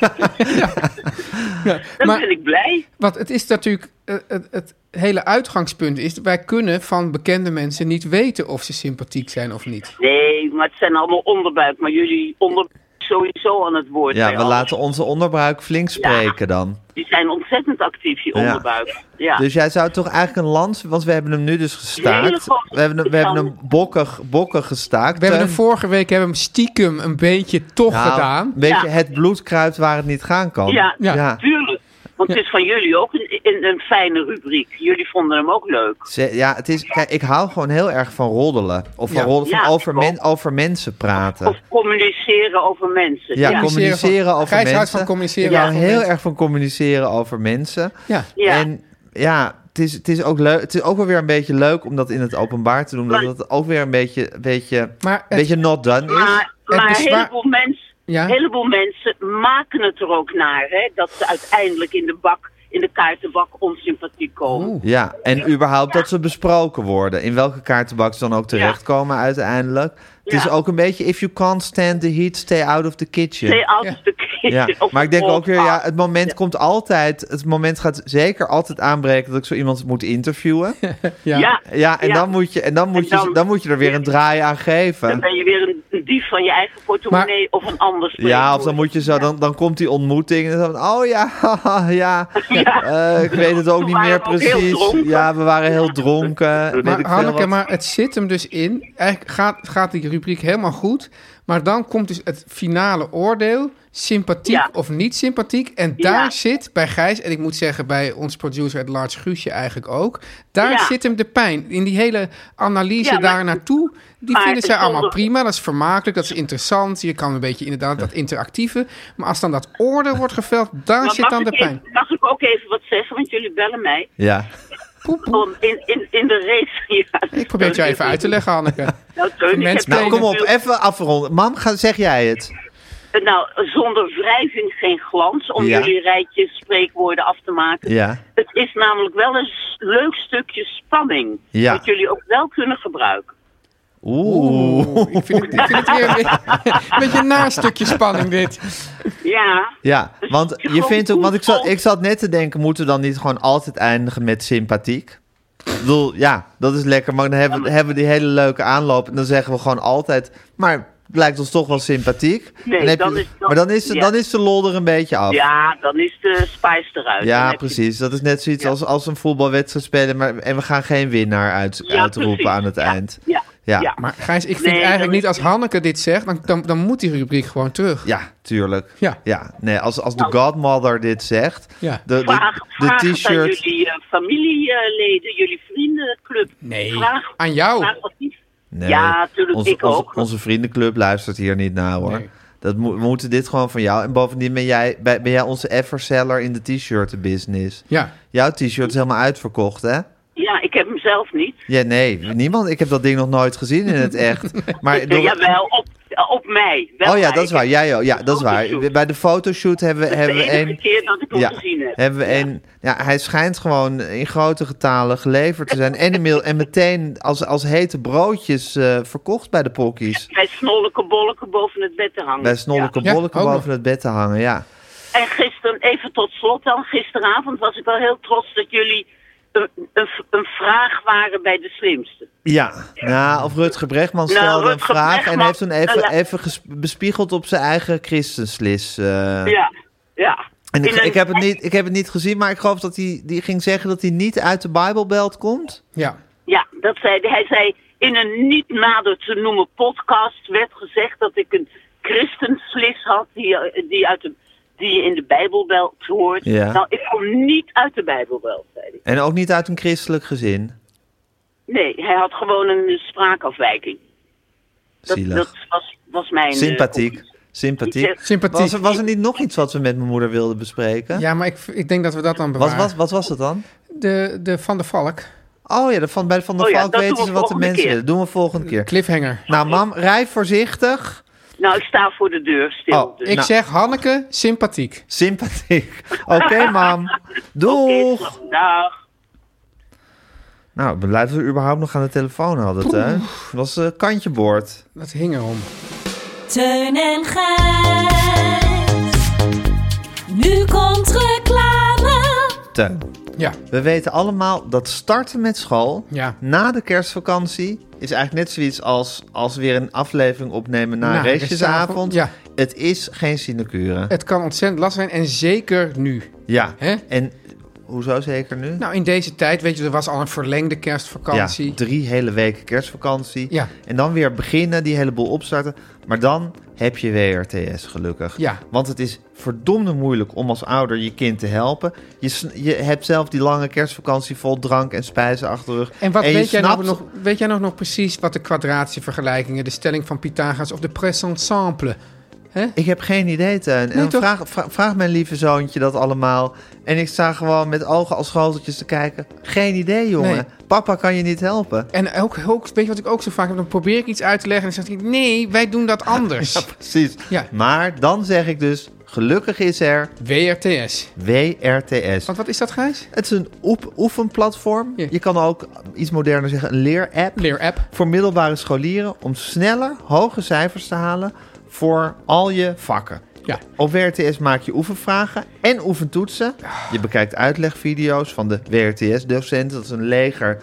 [SPEAKER 2] Ja,
[SPEAKER 6] dan
[SPEAKER 2] Maar
[SPEAKER 6] ben ik blij.
[SPEAKER 2] wat het is natuurlijk, eh, het, het hele uitgangspunt is, wij kunnen van bekende mensen niet weten of ze sympathiek zijn of niet.
[SPEAKER 6] Nee, maar het zijn allemaal onderbuik. Maar jullie onderbuik is sowieso aan het woord.
[SPEAKER 1] Ja,
[SPEAKER 6] bij
[SPEAKER 1] we
[SPEAKER 6] alles.
[SPEAKER 1] laten onze onderbuik flink spreken dan.
[SPEAKER 6] Die zijn ontzettend actief, die
[SPEAKER 1] Ja.
[SPEAKER 6] onderbuik. Ja.
[SPEAKER 1] Dus jij zou toch eigenlijk een lans... Want we hebben hem nu dus
[SPEAKER 6] Hele
[SPEAKER 1] gestaakt.
[SPEAKER 6] grote-
[SPEAKER 1] We hebben hem, we hebben hem bokkig, bokkig gestaakt.
[SPEAKER 2] We hebben hem
[SPEAKER 1] Teun-
[SPEAKER 2] vorige week hebben we hem stiekem een beetje toch
[SPEAKER 1] Nou,
[SPEAKER 2] gedaan.
[SPEAKER 1] Een beetje
[SPEAKER 6] Ja.
[SPEAKER 1] het bloed kruipt waar het niet gaan kan.
[SPEAKER 6] Ja,
[SPEAKER 2] Ja.
[SPEAKER 6] tuurlijk. Want het is van jullie ook een, een, een fijne rubriek. Jullie vonden hem ook leuk.
[SPEAKER 1] Ze- ja, het is, kijk, ik hou gewoon heel erg van roddelen. Of van
[SPEAKER 2] Ja.
[SPEAKER 1] roddelen, van
[SPEAKER 6] Ja,
[SPEAKER 1] over,
[SPEAKER 6] ik ook.
[SPEAKER 1] men- over mensen praten.
[SPEAKER 6] Of communiceren over mensen.
[SPEAKER 1] ja,
[SPEAKER 6] ja.
[SPEAKER 1] communiceren over
[SPEAKER 2] Gijs houdt
[SPEAKER 1] mensen.
[SPEAKER 2] van communiceren
[SPEAKER 1] Ik hou
[SPEAKER 2] over
[SPEAKER 1] heel
[SPEAKER 2] mensen.
[SPEAKER 1] erg van communiceren over mensen.
[SPEAKER 2] Ja.
[SPEAKER 6] Ja.
[SPEAKER 1] En ja, het is, het is ook leuk. Het is ook wel weer een beetje leuk om dat in het openbaar te doen. Dat
[SPEAKER 6] Maar-
[SPEAKER 1] het ook weer een beetje, beetje,
[SPEAKER 2] Maar het-
[SPEAKER 1] beetje not done is.
[SPEAKER 6] Maar,
[SPEAKER 2] het
[SPEAKER 6] maar
[SPEAKER 2] bezwaar-
[SPEAKER 6] een heleboel, mens,
[SPEAKER 2] Ja?
[SPEAKER 6] een heleboel mensen maken het er ook naar. Hè, dat ze uiteindelijk in de bak, in de kaartenbak onsympathiek komen.
[SPEAKER 2] Oeh.
[SPEAKER 1] Ja, en überhaupt dat ze besproken worden. In welke kaartenbak ze dan ook terechtkomen uiteindelijk. Het is
[SPEAKER 6] Ja.
[SPEAKER 1] ook een beetje, if you can't stand the heat, stay out of the kitchen.
[SPEAKER 6] Twee ouders de
[SPEAKER 1] Ja,
[SPEAKER 6] kinderen of
[SPEAKER 1] maar ik denk
[SPEAKER 6] de
[SPEAKER 1] ook weer, ja,
[SPEAKER 6] opa.
[SPEAKER 1] het moment komt altijd, het moment gaat zeker altijd aanbreken dat ik zo iemand moet interviewen.
[SPEAKER 2] Ja.
[SPEAKER 6] Ja,
[SPEAKER 1] Ja, en
[SPEAKER 6] ja.
[SPEAKER 1] dan moet je, en dan moet
[SPEAKER 6] En dan-
[SPEAKER 1] je, dan moet je er weer een draai aan
[SPEAKER 6] Dan
[SPEAKER 1] geven.
[SPEAKER 6] ben je weer een, een dief van je eigen portemonnee of een ander
[SPEAKER 1] Ja, of dan
[SPEAKER 6] spreekwoord.
[SPEAKER 1] moet je zo, dan, dan komt die ontmoeting en dan, oh ja, haha, ja, eh, ik weet het ook
[SPEAKER 6] We
[SPEAKER 1] niet
[SPEAKER 6] waren
[SPEAKER 1] meer
[SPEAKER 6] ook heel
[SPEAKER 1] precies.
[SPEAKER 6] dronken.
[SPEAKER 1] Ja, we waren heel dronken. weet ik
[SPEAKER 2] Maar
[SPEAKER 1] veel
[SPEAKER 2] Hanneke,
[SPEAKER 1] wat.
[SPEAKER 2] maar het zit hem dus in. Eigenlijk gaat, gaat die rubriek helemaal goed. Maar dan komt dus het finale oordeel. Sympathiek
[SPEAKER 6] Ja.
[SPEAKER 2] of niet sympathiek. En daar
[SPEAKER 6] Ja.
[SPEAKER 2] zit bij Gijs, en ik moet zeggen bij ons producer at large Guusje eigenlijk ook. Daar
[SPEAKER 6] Ja.
[SPEAKER 2] zit hem de pijn. In die hele analyse
[SPEAKER 6] Ja, maar-
[SPEAKER 2] daar naartoe. Die
[SPEAKER 6] maar
[SPEAKER 2] vinden zij
[SPEAKER 6] het
[SPEAKER 2] allemaal
[SPEAKER 6] zonder-
[SPEAKER 2] prima. Dat is vermakelijk, dat is interessant. Je kan een beetje inderdaad dat interactieve. Maar als dan dat oordeel wordt geveld, daar
[SPEAKER 6] Maar
[SPEAKER 2] zit dan
[SPEAKER 6] mag
[SPEAKER 2] de
[SPEAKER 6] ik
[SPEAKER 2] pijn.
[SPEAKER 6] even- mag ik ook even wat zeggen? Want jullie bellen mij.
[SPEAKER 1] Ja,
[SPEAKER 6] Om in, in, in de race. Ja.
[SPEAKER 2] Ik probeer het jou even uit te leggen, Hanneke.
[SPEAKER 6] Nou, Teun, ik heb
[SPEAKER 2] Mensplay.
[SPEAKER 1] nou
[SPEAKER 6] wel
[SPEAKER 1] kom op,
[SPEAKER 6] natuurlijk-
[SPEAKER 1] even afronden. Mam, ga, zeg jij het?
[SPEAKER 6] Nou, zonder wrijving geen glans. Om
[SPEAKER 1] Ja.
[SPEAKER 6] jullie rijtjes spreekwoorden af te maken.
[SPEAKER 1] Ja,
[SPEAKER 6] Het is namelijk wel een s- leuk stukje spanning.
[SPEAKER 1] Ja.
[SPEAKER 6] Dat jullie ook wel kunnen gebruiken.
[SPEAKER 1] oeh.
[SPEAKER 2] Oeh, ik vind het, ik vind het weer een beetje, een beetje een naar stukje spanning dit.
[SPEAKER 6] Ja.
[SPEAKER 1] Ja,
[SPEAKER 6] Dus
[SPEAKER 1] want
[SPEAKER 6] het is
[SPEAKER 1] je
[SPEAKER 6] gewoon
[SPEAKER 1] vindt ook,
[SPEAKER 6] goed
[SPEAKER 1] want ik zat,
[SPEAKER 6] als-
[SPEAKER 1] ik zat net te denken, moeten we dan niet gewoon altijd eindigen met sympathiek? Ik bedoel, ja, dat is lekker, maar dan hebben, we- hebben we die hele leuke aanloop en dan zeggen we gewoon altijd, maar het lijkt ons toch wel sympathiek.
[SPEAKER 6] Nee,
[SPEAKER 1] Dan heb
[SPEAKER 6] dan
[SPEAKER 1] je-
[SPEAKER 6] is dat-
[SPEAKER 1] maar dan is, de-
[SPEAKER 6] ja.
[SPEAKER 1] dan is de lol er een beetje af.
[SPEAKER 6] Ja, dan is de spice eruit.
[SPEAKER 1] Ja,
[SPEAKER 6] Dan heb je-
[SPEAKER 1] precies. Dat is net zoiets
[SPEAKER 6] Ja.
[SPEAKER 1] als, als een voetbalwedstrijd spelen maar, en we gaan geen winnaar uit,
[SPEAKER 6] Ja,
[SPEAKER 1] uitroepen
[SPEAKER 6] precies.
[SPEAKER 1] aan het
[SPEAKER 6] Ja,
[SPEAKER 1] eind.
[SPEAKER 6] Ja.
[SPEAKER 1] Ja.
[SPEAKER 6] ja.
[SPEAKER 2] Maar Gijs, ik vind
[SPEAKER 6] Nee,
[SPEAKER 2] eigenlijk
[SPEAKER 6] dat
[SPEAKER 2] niet
[SPEAKER 6] is-
[SPEAKER 2] als Hanneke dit zegt, dan, dan, dan moet die rubriek gewoon terug.
[SPEAKER 1] Ja, tuurlijk.
[SPEAKER 2] Ja.
[SPEAKER 1] nee, als, als de godmother dit zegt,
[SPEAKER 2] Ja.
[SPEAKER 1] de, de,
[SPEAKER 6] Vraag,
[SPEAKER 1] de
[SPEAKER 6] vraag het aan
[SPEAKER 1] t-shirt...
[SPEAKER 6] jullie eh, familieleden, jullie vriendenclub.
[SPEAKER 2] Nee.
[SPEAKER 6] Vraag,
[SPEAKER 2] Aan jou.
[SPEAKER 6] vraag advies.
[SPEAKER 1] Nee,
[SPEAKER 6] Ja, tuurlijk,
[SPEAKER 1] onze,
[SPEAKER 6] ik
[SPEAKER 1] onze-
[SPEAKER 6] ook.
[SPEAKER 1] Onze vriendenclub luistert hier niet naar hoor.
[SPEAKER 2] Nee.
[SPEAKER 1] Dat mo- we moeten dit gewoon van jou. En bovendien ben jij, ben, ben jij onze efferseller in de t-shirtenbusiness.
[SPEAKER 2] Ja.
[SPEAKER 1] Jouw t-shirt is helemaal uitverkocht, hè?
[SPEAKER 6] Ja, ik heb hem zelf niet.
[SPEAKER 1] Ja, nee, niemand. Ik heb dat ding nog nooit gezien in het echt. Maar
[SPEAKER 6] Ja,
[SPEAKER 1] Eh, door-
[SPEAKER 6] jawel, op, eh, op mij. Wel
[SPEAKER 1] oh ja,
[SPEAKER 6] mij.
[SPEAKER 1] dat is waar.
[SPEAKER 6] Ik
[SPEAKER 1] Jij ook. Ja, dat is waar.
[SPEAKER 6] fotoshoot.
[SPEAKER 1] Bij de fotoshoot hebben we,
[SPEAKER 6] heb-
[SPEAKER 1] hebben
[SPEAKER 6] dat is
[SPEAKER 1] we
[SPEAKER 6] de enige
[SPEAKER 1] een.
[SPEAKER 6] keer dat ik hem
[SPEAKER 1] Ja,
[SPEAKER 6] gezien heb.
[SPEAKER 1] hebben we een. Ja, hij schijnt gewoon in grote getalen geleverd te zijn. En, inmiddel- en meteen als, als hete broodjes eh, verkocht bij de pokkies.
[SPEAKER 6] Bij snolleke bolleke boven het bed te hangen.
[SPEAKER 1] Bij snolleke
[SPEAKER 2] Ja.
[SPEAKER 1] bolleke
[SPEAKER 2] Ja, ook
[SPEAKER 1] boven
[SPEAKER 2] nog.
[SPEAKER 1] het bed te hangen, ja.
[SPEAKER 6] Ja. En gisteren, even tot slot dan, gisteravond was ik wel heel trots dat jullie een, een, een vraag waren bij de slimste.
[SPEAKER 1] Ja, nou, of Rutger Bregman
[SPEAKER 6] Nou,
[SPEAKER 1] stelde een
[SPEAKER 6] Rutger
[SPEAKER 1] vraag en
[SPEAKER 6] Bregman-
[SPEAKER 1] heeft toen even,
[SPEAKER 6] nou ja.
[SPEAKER 1] even ges- bespiegeld op zijn eigen christenslis. eh.
[SPEAKER 6] Ja, ja.
[SPEAKER 1] En ik,
[SPEAKER 6] In een-
[SPEAKER 1] ik, heb het niet, ik heb het niet gezien, maar ik geloof dat hij die ging zeggen dat hij niet uit de Bijbelbelt komt.
[SPEAKER 2] Ja.
[SPEAKER 6] Ja, dat zei hij. Hij zei in een niet nader te noemen podcast werd gezegd dat ik een christenslis had die, eh, die, uit de, die je in de Bijbelbelt hoort.
[SPEAKER 1] Ja.
[SPEAKER 6] Nou, ik kom niet uit de Bijbelbelt, zei hij.
[SPEAKER 1] En ook niet uit een christelijk gezin.
[SPEAKER 6] Nee, hij had gewoon een spraakafwijking. Dat,
[SPEAKER 1] Zielig.
[SPEAKER 6] dat was, was mijn... eh,
[SPEAKER 1] Sympathiek.
[SPEAKER 6] conclusie.
[SPEAKER 1] Sympathiek.
[SPEAKER 2] Sympathiek.
[SPEAKER 1] Was er, was er niet nog iets wat we met mijn moeder wilden bespreken?
[SPEAKER 2] Ja, maar ik, ik denk dat we dat dan
[SPEAKER 1] Wat,
[SPEAKER 2] bewaren.
[SPEAKER 1] wat, wat was dat dan?
[SPEAKER 2] De, de Van der Valk.
[SPEAKER 1] Oh ja, de van, bij de Van der
[SPEAKER 6] Oh ja,
[SPEAKER 1] Valk
[SPEAKER 6] dat
[SPEAKER 1] weten
[SPEAKER 6] doen
[SPEAKER 1] ze
[SPEAKER 6] we
[SPEAKER 1] wat de
[SPEAKER 6] volgende
[SPEAKER 1] mensen
[SPEAKER 6] keer.
[SPEAKER 1] willen. Doen we volgende keer.
[SPEAKER 2] Cliffhanger.
[SPEAKER 1] Nou, mam, rij voorzichtig.
[SPEAKER 6] Nou, ik sta voor de deur stil.
[SPEAKER 1] Oh,
[SPEAKER 6] dus.
[SPEAKER 2] Ik
[SPEAKER 1] Nou.
[SPEAKER 2] zeg Hanneke, sympathiek.
[SPEAKER 1] Sympathiek. Oké, mam. Doeg.
[SPEAKER 6] Oké, dag.
[SPEAKER 1] Nou, ik ben blij dat we überhaupt nog aan de telefoon hadden, hè? Dat was eh, kantje boord.
[SPEAKER 2] Dat hing erom.
[SPEAKER 5] Teun en Gijs. Nu komt reclame.
[SPEAKER 1] Teun,
[SPEAKER 2] Ja.
[SPEAKER 1] we weten allemaal dat starten met school
[SPEAKER 2] Ja.
[SPEAKER 1] na de kerstvakantie... is eigenlijk net zoiets als, als weer een aflevering opnemen na,
[SPEAKER 2] Na
[SPEAKER 1] een restjesavond.
[SPEAKER 2] restjesavond, ja.
[SPEAKER 1] Het is geen sinecure.
[SPEAKER 2] Het kan ontzettend lastig zijn en zeker nu.
[SPEAKER 1] Ja.
[SPEAKER 2] Hè?
[SPEAKER 1] En hoezo zeker nu?
[SPEAKER 2] Nou, in deze tijd, weet je, er was al een verlengde kerstvakantie.
[SPEAKER 1] Ja, drie hele weken kerstvakantie.
[SPEAKER 2] Ja.
[SPEAKER 1] En dan weer beginnen, die hele boel opstarten. Maar dan heb je WRTS gelukkig.
[SPEAKER 2] Ja.
[SPEAKER 1] Want het is verdomde moeilijk om als ouder je kind te helpen. Je, sn- je hebt zelf die lange kerstvakantie vol drank en spijzen achter de rug.
[SPEAKER 2] En wat
[SPEAKER 1] je
[SPEAKER 2] weet, jij nou
[SPEAKER 1] snapt-
[SPEAKER 2] nog, weet jij nou nog precies wat de kwadratievergelijkingen, de stelling van Pythagoras of de pressensemble?
[SPEAKER 1] Ik heb geen idee, Teun. En
[SPEAKER 2] Nee,
[SPEAKER 1] dan
[SPEAKER 2] toch?
[SPEAKER 1] vraag, vra- vraag mijn lieve zoontje dat allemaal. En ik sta gewoon met ogen als schoteltjes te kijken. Geen idee, jongen.
[SPEAKER 2] Nee.
[SPEAKER 1] Papa kan je niet helpen.
[SPEAKER 2] En ook, ook, weet je wat ik ook zo vaak heb? Dan probeer ik iets uit te leggen en dan zeg ik, nee, wij doen dat anders.
[SPEAKER 1] Precies.
[SPEAKER 2] Ja.
[SPEAKER 1] Maar dan zeg ik dus, gelukkig is er
[SPEAKER 2] WRTS.
[SPEAKER 1] WRTS.
[SPEAKER 2] Want wat is dat, Gijs?
[SPEAKER 1] Het is een oep- oefenplatform.
[SPEAKER 2] Ja.
[SPEAKER 1] Je kan ook eh, iets moderner zeggen, een leerapp.
[SPEAKER 2] Leerapp.
[SPEAKER 1] Voor middelbare scholieren om sneller hoge cijfers te halen voor al je vakken.
[SPEAKER 2] Ja.
[SPEAKER 1] Op WRTS maak je oefenvragen en oefentoetsen. Je bekijkt uitlegvideo's van de WRTS-docenten. Dat is een leger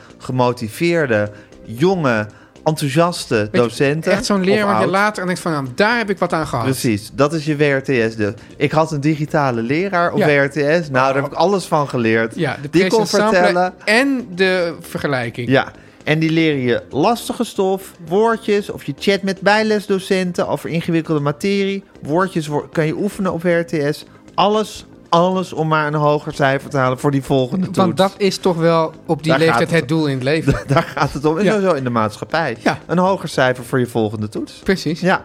[SPEAKER 1] gemotiveerde, jonge, enthousiaste
[SPEAKER 2] Weet je,
[SPEAKER 1] docenten.
[SPEAKER 2] Echt zo'n
[SPEAKER 1] Of
[SPEAKER 2] leer waar je
[SPEAKER 1] oud.
[SPEAKER 2] later aan denkt van, nou, daar heb ik wat aan gehad.
[SPEAKER 1] Precies, dat is je WRTS. Dus. Ik had een digitale leraar op
[SPEAKER 2] Ja.
[SPEAKER 1] WRTS. Nou, daar heb ik alles van geleerd.
[SPEAKER 2] Ja, de
[SPEAKER 1] die kon
[SPEAKER 2] pressensemble
[SPEAKER 1] vertellen.
[SPEAKER 2] en de vergelijking.
[SPEAKER 1] Ja, en die leren je lastige stof, woordjes of je chat met bijlesdocenten over ingewikkelde materie. Woordjes wo- kan je oefenen op WRTS. Alles, alles om maar een hoger cijfer te halen voor die volgende toets.
[SPEAKER 2] Want dat is toch wel op die
[SPEAKER 1] Daar gaat
[SPEAKER 2] leeftijd
[SPEAKER 1] het
[SPEAKER 2] het doel in het leven.
[SPEAKER 1] Daar gaat het om. En
[SPEAKER 2] Ja.
[SPEAKER 1] sowieso in de maatschappij.
[SPEAKER 2] Ja.
[SPEAKER 1] Een hoger cijfer voor je volgende toets.
[SPEAKER 2] Precies.
[SPEAKER 1] Ja.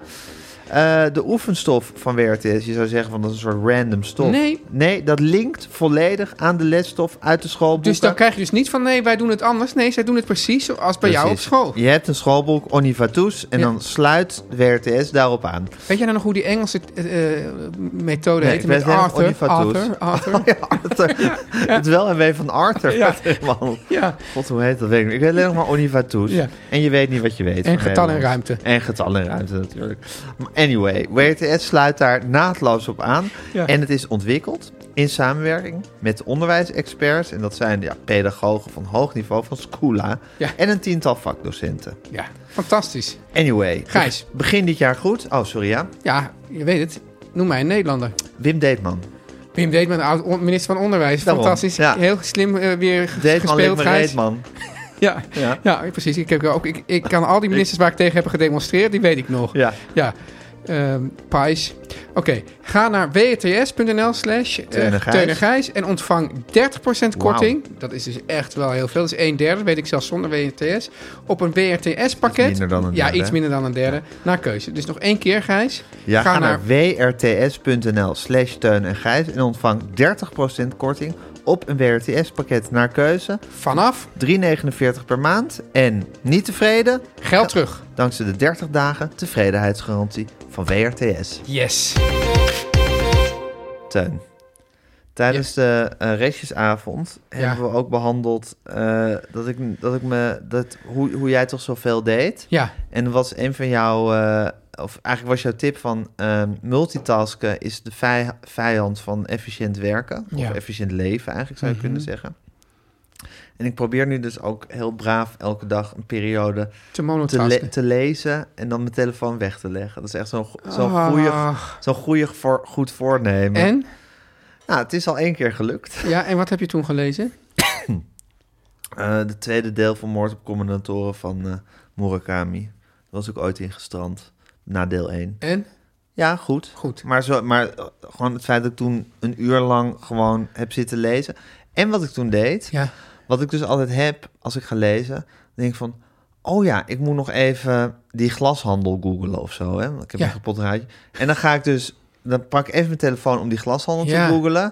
[SPEAKER 1] Eh, de oefenstof van WRTS, je zou zeggen van dat is een soort random stof.
[SPEAKER 2] Nee.
[SPEAKER 1] Nee, dat linkt volledig aan de lesstof uit de schoolboeken.
[SPEAKER 2] Dus dan krijg je dus niet van, nee, wij doen het anders. Nee, zij doen het precies zoals bij jou op
[SPEAKER 1] Precies.
[SPEAKER 2] school.
[SPEAKER 1] Je hebt een schoolboek, Onivatus, en
[SPEAKER 2] Ja.
[SPEAKER 1] dan sluit WRTS daarop aan.
[SPEAKER 2] Weet jij nou nog hoe die Engelse eh, eh, methode
[SPEAKER 1] Nee,
[SPEAKER 2] heet?
[SPEAKER 1] ik weet het
[SPEAKER 2] Met
[SPEAKER 1] helemaal
[SPEAKER 2] Arthur,
[SPEAKER 1] niet van Toets.
[SPEAKER 2] Arthur, Arthur.
[SPEAKER 1] Ja, Arthur. eh, Het wel en wee van Arthur.
[SPEAKER 2] Ja.
[SPEAKER 1] Man.
[SPEAKER 2] Ja.
[SPEAKER 1] God, hoe heet dat? Weet ik, niet. ik weet alleen nog maar Onivatus.
[SPEAKER 2] Ja.
[SPEAKER 1] En je weet niet wat je weet.
[SPEAKER 2] En
[SPEAKER 1] van
[SPEAKER 2] getal en
[SPEAKER 1] Nederlands.
[SPEAKER 2] ruimte.
[SPEAKER 1] En getal en ruimte natuurlijk. Maar Anyway, WRTS sluit daar naadloos op aan.
[SPEAKER 2] Ja.
[SPEAKER 1] En het is ontwikkeld in samenwerking met onderwijsexperts. En dat zijn ja, pedagogen van hoog niveau van Scula.
[SPEAKER 2] Ja.
[SPEAKER 1] En een tiental vakdocenten.
[SPEAKER 2] Ja, fantastisch.
[SPEAKER 1] Anyway,
[SPEAKER 2] Gijs.
[SPEAKER 1] begin dit jaar goed. Oh, sorry ja.
[SPEAKER 2] Ja, je weet het. Noem mij een Nederlander.
[SPEAKER 1] Wim Deetman.
[SPEAKER 2] Wim Deetman, oud on- minister van Onderwijs.
[SPEAKER 1] Daarom,
[SPEAKER 2] Fantastisch.
[SPEAKER 1] ja.
[SPEAKER 2] Heel slim eh, weer ge-
[SPEAKER 1] Deetman ligt
[SPEAKER 2] gespeeld,
[SPEAKER 1] me
[SPEAKER 2] Gijs.
[SPEAKER 1] Reetman.
[SPEAKER 2] Ja.
[SPEAKER 1] Ja.
[SPEAKER 2] Ja. precies. Ik, heb ook, ik, ik kan al die ministers waar ik tegen heb gedemonstreerd, die weet ik nog.
[SPEAKER 1] Ja.
[SPEAKER 2] Ja. Ehm, Pais. Oké, ga naar wts.nl slash eh,
[SPEAKER 1] Teun en Gijs.
[SPEAKER 2] Teun en Gijs en ontvang 30%
[SPEAKER 1] Wauw.
[SPEAKER 2] korting. Dat is dus echt wel heel veel. Dat is een derde, dat weet ik zelfs zonder WTS. Op een WRTS pakket.
[SPEAKER 1] Iets minder dan een
[SPEAKER 2] ja,
[SPEAKER 1] derde,
[SPEAKER 2] iets
[SPEAKER 1] hè?
[SPEAKER 2] minder dan een derde. Naar keuze. Dus nog één keer, Gijs.
[SPEAKER 1] Ja, ga, naar, wrts.nl slash Teun en Gijs en ontvang 30% korting op een WRTS-pakket naar keuze.
[SPEAKER 2] vanaf.
[SPEAKER 1] 3,49 per maand. En niet tevreden?
[SPEAKER 2] Geld terug.
[SPEAKER 1] Dankzij de 30 dagen tevredenheidsgarantie van WRTS.
[SPEAKER 2] Yes.
[SPEAKER 1] Teun. Tijdens de eh, restjesavond hebben we ook behandeld eh, dat, ik, dat ik me dat, hoe, hoe jij toch zoveel deed.
[SPEAKER 2] Ja.
[SPEAKER 1] En er was een van jouw, eh, of eigenlijk was jouw tip van ehm, multitasken is de vij- vijand van efficiënt werken. Of
[SPEAKER 2] Ja. Mhm.
[SPEAKER 1] efficiënt leven eigenlijk zou je kunnen zeggen. En ik probeer nu dus ook heel braaf elke dag een periode
[SPEAKER 2] Te
[SPEAKER 1] te, le-
[SPEAKER 2] monotasken.
[SPEAKER 1] te lezen en dan mijn telefoon weg te leggen. Dat is echt zo'n go- zo'n
[SPEAKER 2] Ah.
[SPEAKER 1] goeie- zo'n goeie voor, goed voornemen.
[SPEAKER 2] En?
[SPEAKER 1] Nou, het is al één keer gelukt.
[SPEAKER 2] Ja, en wat heb je toen gelezen?
[SPEAKER 1] Eh, de tweede deel van Moord op Commandantoren van eh, Murakami. Daar was ik ooit in gestrand, na deel 1.
[SPEAKER 2] En?
[SPEAKER 1] Ja, goed.
[SPEAKER 2] Goed.
[SPEAKER 1] Maar, zo, maar eh, gewoon het feit dat ik toen een uur lang gewoon heb zitten lezen. En wat ik toen deed,
[SPEAKER 2] Ja.
[SPEAKER 1] wat ik dus altijd heb als ik ga lezen, dan denk ik van... Oh ja, ik moet nog even die glashandel googlen of zo. Hè? want Ik heb
[SPEAKER 2] Ja.
[SPEAKER 1] een kapot raadje. En dan ga ik dus... Dan pak ik even mijn telefoon om die glashandel
[SPEAKER 2] Ja.
[SPEAKER 1] te googlen.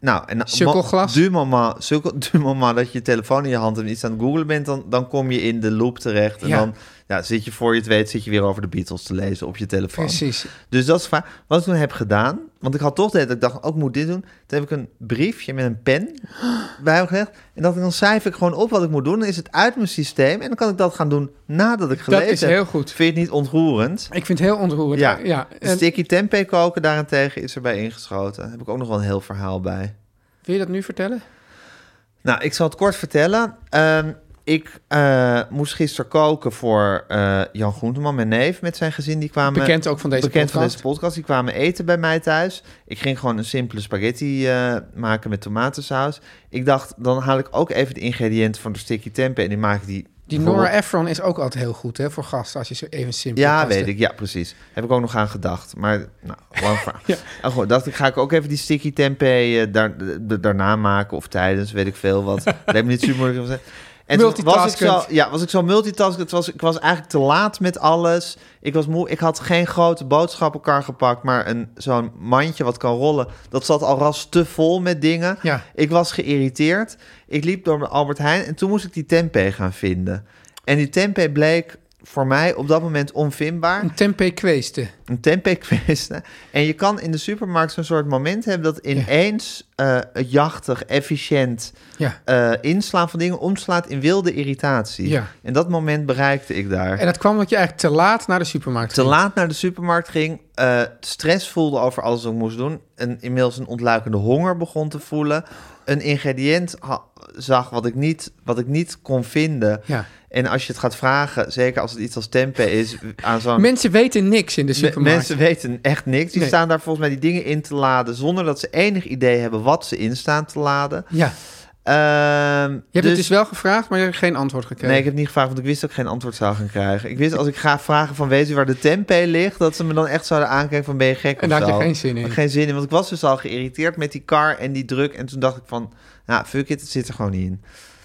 [SPEAKER 1] Nou, en
[SPEAKER 2] Sukkelglas.
[SPEAKER 1] Du mama, sukkel, du mama dat je telefoon in je hand hebt en iets aan het googlen bent, dan, dan kom je in de loop terecht. En
[SPEAKER 2] Ja.
[SPEAKER 1] dan ja, zit je voor je het weet, zit je weer over de Beatles te lezen op je telefoon.
[SPEAKER 2] Precies.
[SPEAKER 1] Dus dat is vaak wat ik toen heb gedaan. Want ik had toch de hele tijd, ik dacht, ook moet dit doen. Toen heb ik een briefje met een pen bij me gelegd. En dat, dan cijfer ik gewoon op wat ik moet doen. Dan is het uit mijn systeem. En dan kan ik dat gaan doen nadat ik gelezen
[SPEAKER 2] is
[SPEAKER 1] heb.
[SPEAKER 2] heel goed.
[SPEAKER 1] Vind je het niet ontroerend?
[SPEAKER 2] Ik vind het heel ontroerend.
[SPEAKER 1] Ja. Dus
[SPEAKER 2] ja. En
[SPEAKER 1] Sticky tempeh koken daarentegen is erbij ingeschoten. Daar heb ik ook nog wel een heel verhaal bij.
[SPEAKER 2] wil je dat nu vertellen?
[SPEAKER 1] Nou, ik zal het kort vertellen. Ehm, ik eh, moest gisteren koken voor eh, Jan Groenteman, mijn neef, met zijn gezin. Die kwamen,
[SPEAKER 2] Bekend ook van deze
[SPEAKER 1] bekend van
[SPEAKER 2] podcast.
[SPEAKER 1] deze podcast. Die kwamen eten bij mij thuis. Ik ging gewoon een simpele spaghetti eh, maken met tomatensaus. Ik dacht, dan haal ik ook even de ingrediënten van de sticky tempeh... en die maak ik die...
[SPEAKER 2] Die Nora Ephron is ook altijd heel goed hè, voor gasten, als je zo even simpel
[SPEAKER 1] Ja,
[SPEAKER 2] gasten-
[SPEAKER 1] weet ik. Ja, precies. Heb ik ook nog aan gedacht. Maar, nou, lang verhaal. En goed, dacht ik, ga ik ook even die sticky tempeh eh, daar, d- daarna maken of tijdens, weet ik veel wat. Dat heeft me niet super moeilijk gezegd. En toen was ik zo,
[SPEAKER 2] Multitaskend.
[SPEAKER 1] ja, was ik zo multitasking. Het was, ik was eigenlijk te laat met alles. Ik was moe. Ik had geen grote boodschappenkar gepakt, maar een, zo'n mandje wat kan rollen. Dat zat al ras te vol met dingen.
[SPEAKER 2] Ja.
[SPEAKER 1] Ik was geïrriteerd. Ik liep door mijn Albert Heijn en toen moest ik die tempeh gaan vinden. En die tempeh bleek voor mij op dat moment onvindbaar
[SPEAKER 2] Een tempeh kweesten.
[SPEAKER 1] een tempeh-kwestie. En je kan in de supermarkt zo'n soort moment hebben dat ineens eh, het jachtig, efficiënt
[SPEAKER 2] Ja.
[SPEAKER 1] eh, inslaan van dingen omslaat in wilde irritatie.
[SPEAKER 2] Ja.
[SPEAKER 1] En dat moment bereikte ik daar.
[SPEAKER 2] En dat kwam omdat je eigenlijk te laat naar de supermarkt
[SPEAKER 1] te
[SPEAKER 2] ging.
[SPEAKER 1] laat naar de supermarkt ging, eh, stress voelde over alles wat ik moest doen, en inmiddels een ontluikende honger begon te voelen, een ingrediënt ha- zag wat ik niet, wat ik niet kon vinden.
[SPEAKER 2] Ja.
[SPEAKER 1] En als je het gaat vragen, zeker als het iets als tempeh is, aan zo'n
[SPEAKER 2] Mensen weten niks in de
[SPEAKER 1] Me-
[SPEAKER 2] supermarkt.
[SPEAKER 1] Mensen weten echt niks. Die
[SPEAKER 2] Nee.
[SPEAKER 1] staan daar volgens mij die dingen in te laden... zonder dat ze enig idee hebben wat ze in staan te laden.
[SPEAKER 2] Ja.
[SPEAKER 1] Ehm,
[SPEAKER 2] Je hebt
[SPEAKER 1] dus-
[SPEAKER 2] het dus wel gevraagd, maar je hebt geen antwoord gekregen.
[SPEAKER 1] Nee, ik heb niet gevraagd, want ik wist dat ik geen antwoord zou gaan krijgen. Ik wist als ik ga vragen van weet u waar de tempeh ligt... dat ze me dan echt zouden aankijken van ben je gek
[SPEAKER 2] En
[SPEAKER 1] of
[SPEAKER 2] daar had je
[SPEAKER 1] zo.
[SPEAKER 2] geen zin in.
[SPEAKER 1] Had ik geen zin in, want ik was dus al geïrriteerd met die kar en die druk. En toen dacht ik van, nou fuck it, het zit er gewoon niet in.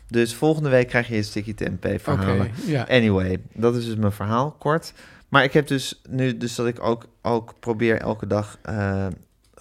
[SPEAKER 1] Dus volgende week krijg je een sticky tempeh verhalen.
[SPEAKER 2] Oké, ja.
[SPEAKER 1] Anyway, dat is dus mijn verhaal, kort. Maar ik heb dus nu, dus dat ik ook, ook probeer elke dag eh,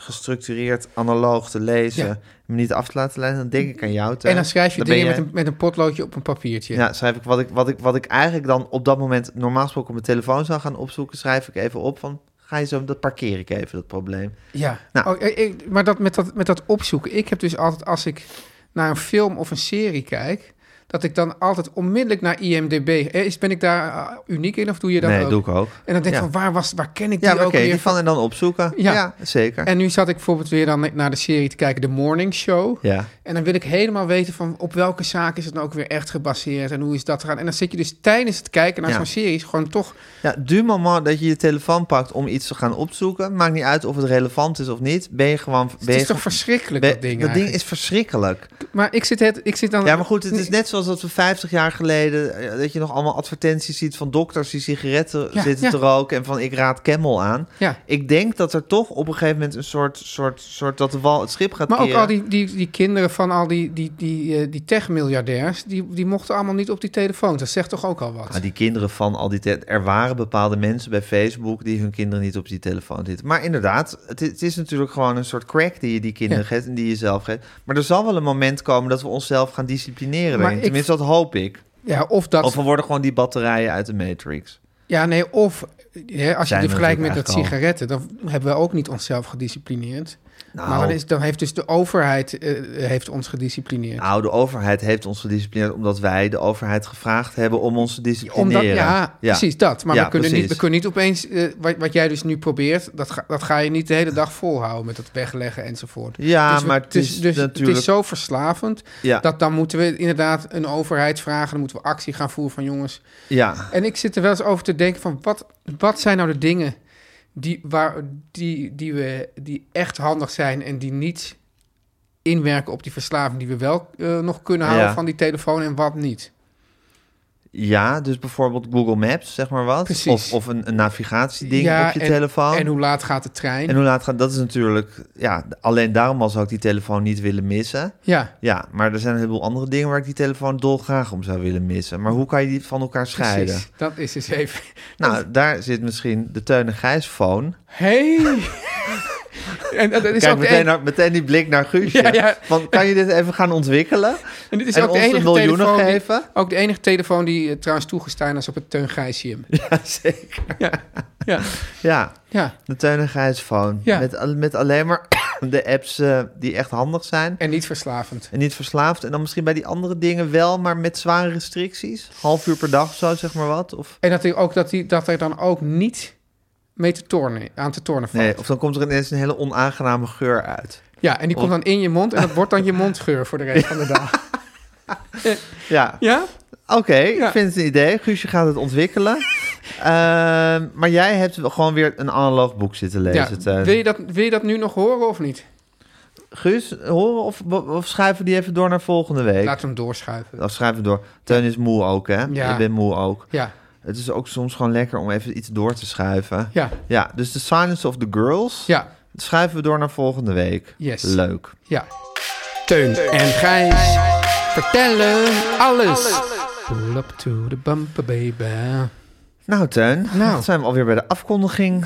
[SPEAKER 1] gestructureerd, analoog te lezen.
[SPEAKER 2] Ja.
[SPEAKER 1] Me niet af te laten leiden, dan denk ik aan jou. Teun.
[SPEAKER 2] en dan schrijf je
[SPEAKER 1] ben
[SPEAKER 2] dingen
[SPEAKER 1] jij-
[SPEAKER 2] met, een, met een potloodje op een papiertje.
[SPEAKER 1] ja, schrijf ik wat ik, wat ik wat ik eigenlijk dan op dat moment normaal gesproken op mijn telefoon zou gaan opzoeken, schrijf ik even op van ga je zo, dat parkeer ik even dat probleem.
[SPEAKER 2] Ja,
[SPEAKER 1] Nou.
[SPEAKER 2] Oh, ik- ik- maar dat, met, dat, met dat opzoeken. Ik heb dus altijd, als ik naar een film of een serie kijk, dat ik dan altijd onmiddellijk naar IMDB. eh, Is, ben ik daar eh, uniek in of doe je dat
[SPEAKER 1] nee,
[SPEAKER 2] ook?
[SPEAKER 1] doe ik ook.
[SPEAKER 2] En dan denk ik
[SPEAKER 1] Ja.
[SPEAKER 2] van, waar, was, waar ken ik
[SPEAKER 1] Ja,
[SPEAKER 2] die
[SPEAKER 1] oké,
[SPEAKER 2] ook weer?
[SPEAKER 1] die van en dan opzoeken.
[SPEAKER 2] Ja.
[SPEAKER 1] Ja, zeker.
[SPEAKER 2] En nu zat ik bijvoorbeeld weer dan naar de serie te kijken, The Morning Show.
[SPEAKER 1] ja.
[SPEAKER 2] En dan wil ik helemaal weten van op welke zaak is het nou ook weer echt gebaseerd en hoe is dat eraan. En dan zit je dus tijdens het kijken naar
[SPEAKER 1] Ja.
[SPEAKER 2] zo'n serie gewoon toch...
[SPEAKER 1] ja, du moment dat je je telefoon pakt om iets te gaan opzoeken, maakt niet uit of het relevant is of niet, ben je gewoon... Ben
[SPEAKER 2] Het
[SPEAKER 1] je
[SPEAKER 2] is toch
[SPEAKER 1] ge-
[SPEAKER 2] verschrikkelijk,
[SPEAKER 1] ben-
[SPEAKER 2] dat ding
[SPEAKER 1] dat ding
[SPEAKER 2] eigenlijk.
[SPEAKER 1] is verschrikkelijk.
[SPEAKER 2] Maar ik zit, het, ik zit dan...
[SPEAKER 1] Ja, maar goed, het is net zoals dat we 50 jaar geleden... eh, dat je nog allemaal advertenties ziet van dokters die sigaretten
[SPEAKER 2] Ja,
[SPEAKER 1] zitten
[SPEAKER 2] ja.
[SPEAKER 1] te roken... en van ik raad Camel aan.
[SPEAKER 2] Ja.
[SPEAKER 1] Ik denk dat er toch op een gegeven moment een soort... soort, soort dat de wal het schip gaat
[SPEAKER 2] Maar ook
[SPEAKER 1] keren.
[SPEAKER 2] al die, die, die kinderen van al die, die, die, eh, die tech-miljardairs, die, die mochten allemaal niet op die telefoon. Dat zegt toch ook al wat?
[SPEAKER 1] Ah, die kinderen van al die... te- Er waren bepaalde mensen bij Facebook... die hun kinderen niet op die telefoon zitten. Maar inderdaad, het, i- het is natuurlijk gewoon een soort crack... die je die kinderen
[SPEAKER 2] Ja.
[SPEAKER 1] geeft en die je zelf geeft. Maar er zal wel een moment komen dat we onszelf gaan disciplineren.
[SPEAKER 2] Maar
[SPEAKER 1] daarin.
[SPEAKER 2] ik-
[SPEAKER 1] Tenminste, dat hoop ik.
[SPEAKER 2] Ja, of dat.
[SPEAKER 1] Of we worden gewoon die batterijen uit de Matrix.
[SPEAKER 2] ja, nee, of eh, als je
[SPEAKER 1] Zijn
[SPEAKER 2] die
[SPEAKER 1] we
[SPEAKER 2] vergelijkt met
[SPEAKER 1] natuurlijk eigenlijk
[SPEAKER 2] dat
[SPEAKER 1] al.
[SPEAKER 2] sigaretten, dan hebben we ook niet onszelf gedisciplineerd.
[SPEAKER 1] Nou.
[SPEAKER 2] Maar dan, is, dan heeft dus de overheid eh, heeft ons gedisciplineerd.
[SPEAKER 1] Nou, de overheid heeft ons gedisciplineerd omdat wij de overheid gevraagd hebben om ons te disciplineren.
[SPEAKER 2] Omdat, ja, precies dat. Maar
[SPEAKER 1] Ja,
[SPEAKER 2] we, kunnen niet,
[SPEAKER 1] precies.
[SPEAKER 2] we kunnen niet opeens, eh, wat, wat jij dus nu probeert, dat ga, dat ga je niet de hele dag volhouden met dat wegleggen enzovoort.
[SPEAKER 1] Ja,
[SPEAKER 2] we-
[SPEAKER 1] maar het is
[SPEAKER 2] dus het
[SPEAKER 1] natuurlijk-
[SPEAKER 2] is zo verslavend,
[SPEAKER 1] Ja.
[SPEAKER 2] dat dan moeten we inderdaad een overheid vragen, dan moeten we actie gaan voeren van jongens.
[SPEAKER 1] Ja,
[SPEAKER 2] En ik zit er wel eens over te denken van, wat, wat zijn nou de dingen die, waar, die, die, we, die echt handig zijn en die niet inwerken op die verslaving die we wel eh, nog kunnen houden
[SPEAKER 1] Ja.
[SPEAKER 2] van die telefoon en wat niet?
[SPEAKER 1] ja, dus bijvoorbeeld Google Maps, zeg maar wat.
[SPEAKER 2] Precies.
[SPEAKER 1] Of, of een, een navigatieding
[SPEAKER 2] Ja,
[SPEAKER 1] op je
[SPEAKER 2] en-
[SPEAKER 1] telefoon.
[SPEAKER 2] En hoe laat gaat de trein?
[SPEAKER 1] En hoe laat gaat dat? is natuurlijk, ja, alleen daarom al zou ik die telefoon niet willen missen.
[SPEAKER 2] ja.
[SPEAKER 1] Ja, maar er zijn een heleboel andere dingen waar ik die telefoon dolgraag om zou willen missen. Maar hoe kan je die van elkaar scheiden?
[SPEAKER 2] Precies, dat is dus even.
[SPEAKER 1] Nou, daar zit misschien de Teun en Gijs phone.
[SPEAKER 2] Hey! en dat dat is
[SPEAKER 1] Kijk
[SPEAKER 2] ook de
[SPEAKER 1] meteen,
[SPEAKER 2] en-
[SPEAKER 1] naar, meteen die blik naar Guusje.
[SPEAKER 2] Ja, ja.
[SPEAKER 1] Want kan je dit even gaan ontwikkelen?
[SPEAKER 2] en dit is
[SPEAKER 1] en
[SPEAKER 2] ook de
[SPEAKER 1] ons de
[SPEAKER 2] enige
[SPEAKER 1] miljoenen
[SPEAKER 2] telefoon die-
[SPEAKER 1] geven?
[SPEAKER 2] ook de enige telefoon die eh, trouwens toegestaan is op het Teun Gijsium.
[SPEAKER 1] Ja, zeker.
[SPEAKER 2] Ja. ja,
[SPEAKER 1] Ja,
[SPEAKER 2] ja.
[SPEAKER 1] de Teun en Gijs phone.
[SPEAKER 2] Ja.
[SPEAKER 1] Met, al- met alleen maar de apps eh, die echt handig zijn.
[SPEAKER 2] En niet verslavend.
[SPEAKER 1] En niet verslaafd. En dan misschien bij die andere dingen wel, maar met zware restricties. Half uur per dag of zo, zeg maar wat. Of,
[SPEAKER 2] En dat, hij ook, dat, hij, dat er dan ook niet mee te tornen, aan te tornen valt.
[SPEAKER 1] nee, of dan komt er ineens een hele onaangename geur uit.
[SPEAKER 2] Ja, en die komt dan in je mond en dat wordt dan je mondgeur voor de rest van de dag.
[SPEAKER 1] Ja,
[SPEAKER 2] Ja?
[SPEAKER 1] oké.
[SPEAKER 2] Ja.
[SPEAKER 1] Ik vind het een idee. Guusje gaat het ontwikkelen. Ehm, maar jij hebt wel gewoon weer een analoog boek zitten
[SPEAKER 2] ja.
[SPEAKER 1] lezen. Teun.
[SPEAKER 2] Wil, je dat, wil je dat nu nog horen of niet?
[SPEAKER 1] Guus, horen of, of schrijven we die even door naar volgende week?
[SPEAKER 2] Laat hem doorschuiven.
[SPEAKER 1] Of schrijven we door. Teun is moe ook, hè?
[SPEAKER 2] Ja.
[SPEAKER 1] Ik ben moe ook.
[SPEAKER 2] Ja,
[SPEAKER 1] Het is ook soms gewoon lekker om even iets door te schuiven.
[SPEAKER 2] ja,
[SPEAKER 1] Ja, dus The Silence of the Girls.
[SPEAKER 2] ja,
[SPEAKER 1] Schrijven we door naar volgende week.
[SPEAKER 2] Yes.
[SPEAKER 1] Leuk.
[SPEAKER 2] ja. Teun en Gijs vertellen alles. Pull up to the bumper, baby.
[SPEAKER 1] Nou, Teun,
[SPEAKER 2] Nou.
[SPEAKER 1] dan zijn we alweer bij de afkondiging.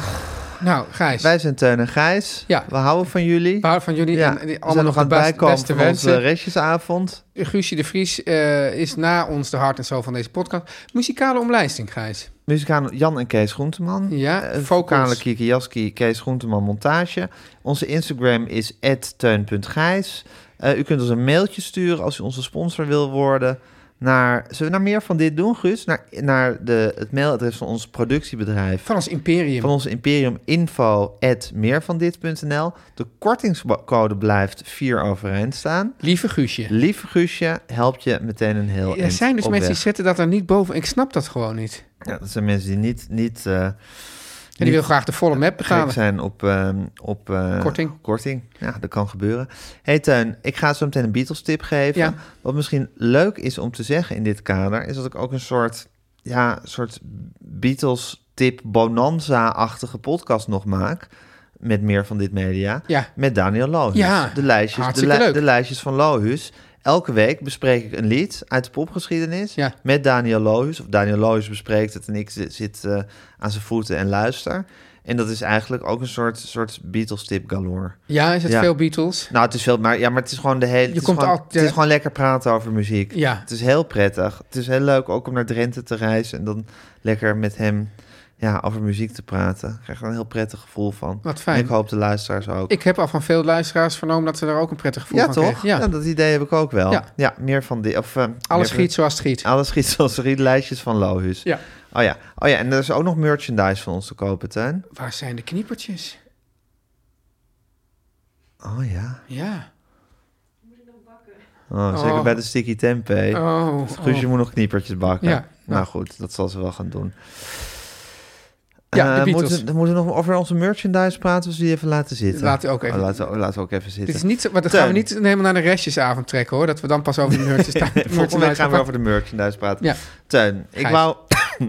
[SPEAKER 2] Nou, Gijs,
[SPEAKER 1] Wij zijn Teun en Gijs.
[SPEAKER 2] Ja.
[SPEAKER 1] We houden van jullie.
[SPEAKER 2] waar van jullie
[SPEAKER 1] ja.
[SPEAKER 2] en, en die
[SPEAKER 1] we
[SPEAKER 2] allemaal
[SPEAKER 1] zijn
[SPEAKER 2] nog
[SPEAKER 1] nog aan
[SPEAKER 2] de
[SPEAKER 1] het
[SPEAKER 2] best,
[SPEAKER 1] bijkomen
[SPEAKER 2] beste
[SPEAKER 1] van onze
[SPEAKER 2] wensen.
[SPEAKER 1] restjesavond.
[SPEAKER 2] Guusje de Vries eh, is na ons de hart en zo van deze podcast. Muzikale omlijsting, Gijs.
[SPEAKER 1] Muzikale Jan en Kees Groenteman.
[SPEAKER 2] Ja,
[SPEAKER 1] Eh,
[SPEAKER 2] vocals.
[SPEAKER 1] Vocale Kiki Jaski, Kees Groenteman Montage. Onze Instagram is teun.gijs. Eh, u kunt ons een mailtje sturen als u onze sponsor wil worden. Naar, zullen we naar meer van dit doen, Guus? Naar, naar de, het mailadres van ons productiebedrijf.
[SPEAKER 2] Van ons imperium.
[SPEAKER 1] Van ons imperium info at meervandit.nl. De kortingscode blijft 4 overeind staan.
[SPEAKER 2] Lieve Guusje.
[SPEAKER 1] Lieve Guusje, help je meteen een heel
[SPEAKER 2] Er
[SPEAKER 1] eind
[SPEAKER 2] zijn dus
[SPEAKER 1] op
[SPEAKER 2] mensen
[SPEAKER 1] weg.
[SPEAKER 2] die zetten dat er niet boven. Ik snap dat gewoon niet.
[SPEAKER 1] Ja, dat zijn mensen die niet... niet eh,
[SPEAKER 2] En die wil graag de volle map
[SPEAKER 1] gek
[SPEAKER 2] betalen.
[SPEAKER 1] zijn op, ehm, op eh,
[SPEAKER 2] Korting.
[SPEAKER 1] korting. Ja, dat kan gebeuren. Hey Teun, ik ga zo meteen een Beatles-tip geven.
[SPEAKER 2] Ja.
[SPEAKER 1] Wat misschien leuk is om te zeggen in dit kader... is dat ik ook een soort, ja, soort Beatles-tip bonanza-achtige podcast nog maak... met meer van dit media,
[SPEAKER 2] Ja.
[SPEAKER 1] met Daniel Lohus.
[SPEAKER 2] Ja,
[SPEAKER 1] de, lijstjes, de,
[SPEAKER 2] hartstikke
[SPEAKER 1] li-
[SPEAKER 2] leuk.
[SPEAKER 1] de lijstjes van Lohus... Elke week bespreek ik een lied uit de popgeschiedenis
[SPEAKER 2] Ja.
[SPEAKER 1] met Daniel Lohuis. Of Daniel Lohuis bespreekt het en ik zit, zit, eh, aan zijn voeten en luister. En dat is eigenlijk ook een soort, soort Beatles-tip galore.
[SPEAKER 2] Ja, is het
[SPEAKER 1] Ja.
[SPEAKER 2] veel Beatles?
[SPEAKER 1] Nou, het is veel, maar, ja, maar het is gewoon de hele... het, is
[SPEAKER 2] komt
[SPEAKER 1] gewoon,
[SPEAKER 2] altijd- eh,
[SPEAKER 1] het is gewoon lekker praten over muziek.
[SPEAKER 2] Ja.
[SPEAKER 1] Het is heel prettig. Het is heel leuk ook om naar Drenthe te reizen en dan lekker met hem ja, over muziek te praten. Ik krijg er een heel prettig gevoel van.
[SPEAKER 2] Wat fijn.
[SPEAKER 1] En ik hoop de luisteraars ook.
[SPEAKER 2] Ik heb al van veel luisteraars vernomen dat ze daar ook een prettig gevoel
[SPEAKER 1] ja,
[SPEAKER 2] van
[SPEAKER 1] toch?
[SPEAKER 2] kregen. Ja,
[SPEAKER 1] Ja, dat idee heb ik ook wel.
[SPEAKER 2] Ja.
[SPEAKER 1] Ja, meer van die... Of, eh, meer
[SPEAKER 2] Alles
[SPEAKER 1] van-
[SPEAKER 2] schiet zoals het schiet.
[SPEAKER 1] Alles schiet zoals er lijstjes van Lohus.
[SPEAKER 2] Ja.
[SPEAKER 1] Oh ja. Oh ja, en er is ook nog merchandise van ons te kopen, Tuin.
[SPEAKER 2] Waar zijn de kniepertjes?
[SPEAKER 1] Oh ja.
[SPEAKER 2] Ja.
[SPEAKER 1] Oh, Zeker bij de Sticky Tempeh.
[SPEAKER 2] Oh.
[SPEAKER 1] Guus, je
[SPEAKER 2] oh.
[SPEAKER 1] moet nog kniepertjes bakken.
[SPEAKER 2] Ja.
[SPEAKER 1] Nou goed, dat zal ze wel gaan doen.
[SPEAKER 2] Ja, de
[SPEAKER 1] Eh,
[SPEAKER 2] Beatles.
[SPEAKER 1] Moeten, dan moeten we nog over onze merchandise praten, of ze die even laten zitten?
[SPEAKER 2] Laten we ook even-
[SPEAKER 1] Oh, laten, we, laten we ook even
[SPEAKER 2] Dit
[SPEAKER 1] zitten.
[SPEAKER 2] is niet zo, maar dat
[SPEAKER 1] Teun.
[SPEAKER 2] gaan we niet helemaal naar de restjesavond trekken hoor. Dat we dan pas over de merch staan.
[SPEAKER 1] Volgende week gaan we
[SPEAKER 2] merchandise-
[SPEAKER 1] over de merchandise praten.
[SPEAKER 2] Ja.
[SPEAKER 1] Teun, ik
[SPEAKER 2] Gijs.
[SPEAKER 1] wou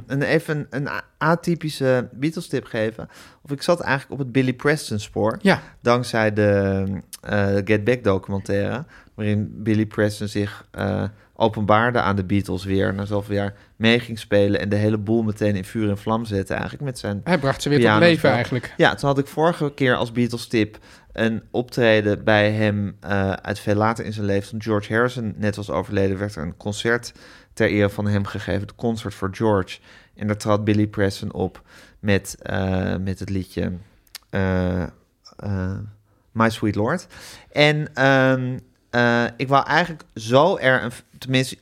[SPEAKER 1] een, even een a- atypische Beatles-tip geven. Of ik zat eigenlijk op het Billy Preston-spoor.
[SPEAKER 2] Ja.
[SPEAKER 1] Dankzij de eh, Get Back documentaire. Waarin Billy Preston zich eh, openbaarde aan de Beatles weer. Na zoveel jaar mee ging spelen. En de hele boel meteen in vuur en vlam zette eigenlijk. Met zijn
[SPEAKER 2] Hij bracht ze weer tot
[SPEAKER 1] Pianospel.
[SPEAKER 2] leven eigenlijk.
[SPEAKER 1] ja, toen had ik vorige keer als Beatles-tip een optreden bij hem eh, uit veel later in zijn leven. Toen George Harrison net was overleden, werd er een concert ter ere van hem gegeven. Het Concert for George. En daar trad Billy Preston op met, eh, met het liedje eh, eh, My Sweet Lord. En ehm, eh, ik wou eigenlijk zo er een, tenminste,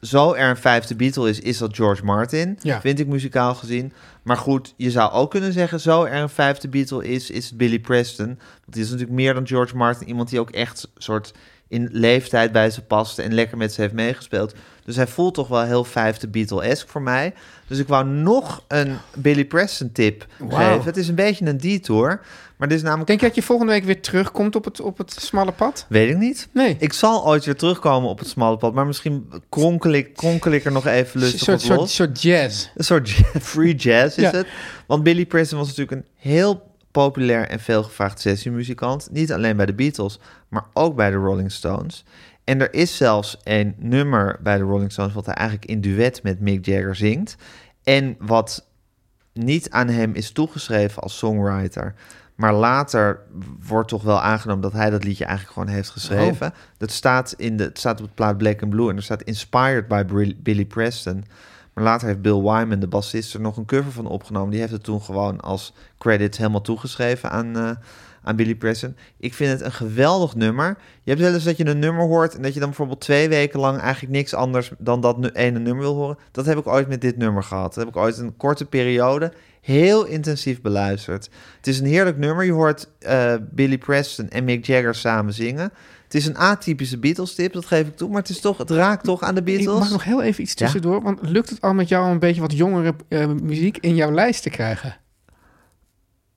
[SPEAKER 1] zo er een vijfde Beatle is, is dat George Martin.
[SPEAKER 2] Ja.
[SPEAKER 1] Vind ik muzikaal gezien. Maar goed, je zou ook kunnen zeggen, zo er een vijfde Beatle is, is het Billy Preston. Want die is natuurlijk meer dan George Martin. Iemand die ook echt soort in leeftijd bij ze past en lekker met ze heeft meegespeeld. Dus hij voelt toch wel heel vijfde Beatle-esque voor mij. Dus ik wou nog een Billy Preston tip geven. Het is een beetje een detour, maar dit is namelijk...
[SPEAKER 2] Denk je dat je volgende week weer terugkomt op het, op het smalle pad?
[SPEAKER 1] Weet ik niet.
[SPEAKER 2] Nee.
[SPEAKER 1] Ik zal ooit weer terugkomen op het smalle pad, maar misschien kronkel ik, kronkel ik er nog even
[SPEAKER 2] Een
[SPEAKER 1] lustig
[SPEAKER 2] soort,
[SPEAKER 1] op
[SPEAKER 2] soort,
[SPEAKER 1] los.
[SPEAKER 2] soort jazz.
[SPEAKER 1] Een soort ja- free jazz is
[SPEAKER 2] Ja.
[SPEAKER 1] het. Want Billy Preston was natuurlijk een heel populair en veelgevraagd sessiemuzikant. Niet alleen bij de Beatles, maar ook bij de Rolling Stones. En er is zelfs een nummer bij de Rolling Stones... wat hij eigenlijk in duet met Mick Jagger zingt. En wat niet aan hem is toegeschreven als songwriter... maar later wordt toch wel aangenomen dat hij dat liedje eigenlijk gewoon heeft geschreven. Dat staat, in de, het staat op het plaat Black and Blue en er staat Inspired by Bri- Billy Preston... Maar later heeft Bill Wyman, de bassist, er nog een cover van opgenomen. Die heeft het toen gewoon als credits helemaal toegeschreven aan, eh, aan Billy Preston. Ik vind het een geweldig nummer. Je hebt wel eens dat je een nummer hoort en dat je dan bijvoorbeeld twee weken lang eigenlijk niks anders dan dat nu- ene nummer wil horen. Dat heb ik ooit met dit nummer gehad. Dat heb ik ooit een korte periode heel intensief beluisterd. Het is een heerlijk nummer. Je hoort eh, Billy Preston en Mick Jagger samen zingen. Het is een atypische Beatles-tip, dat geef ik toe. Maar het, is toch, het raakt toch aan de
[SPEAKER 2] Ik
[SPEAKER 1] Beatles.
[SPEAKER 2] mag nog heel even iets
[SPEAKER 1] Ja.
[SPEAKER 2] tussendoor. Want lukt het al met jou om een beetje wat jongere eh, muziek in jouw lijst te krijgen?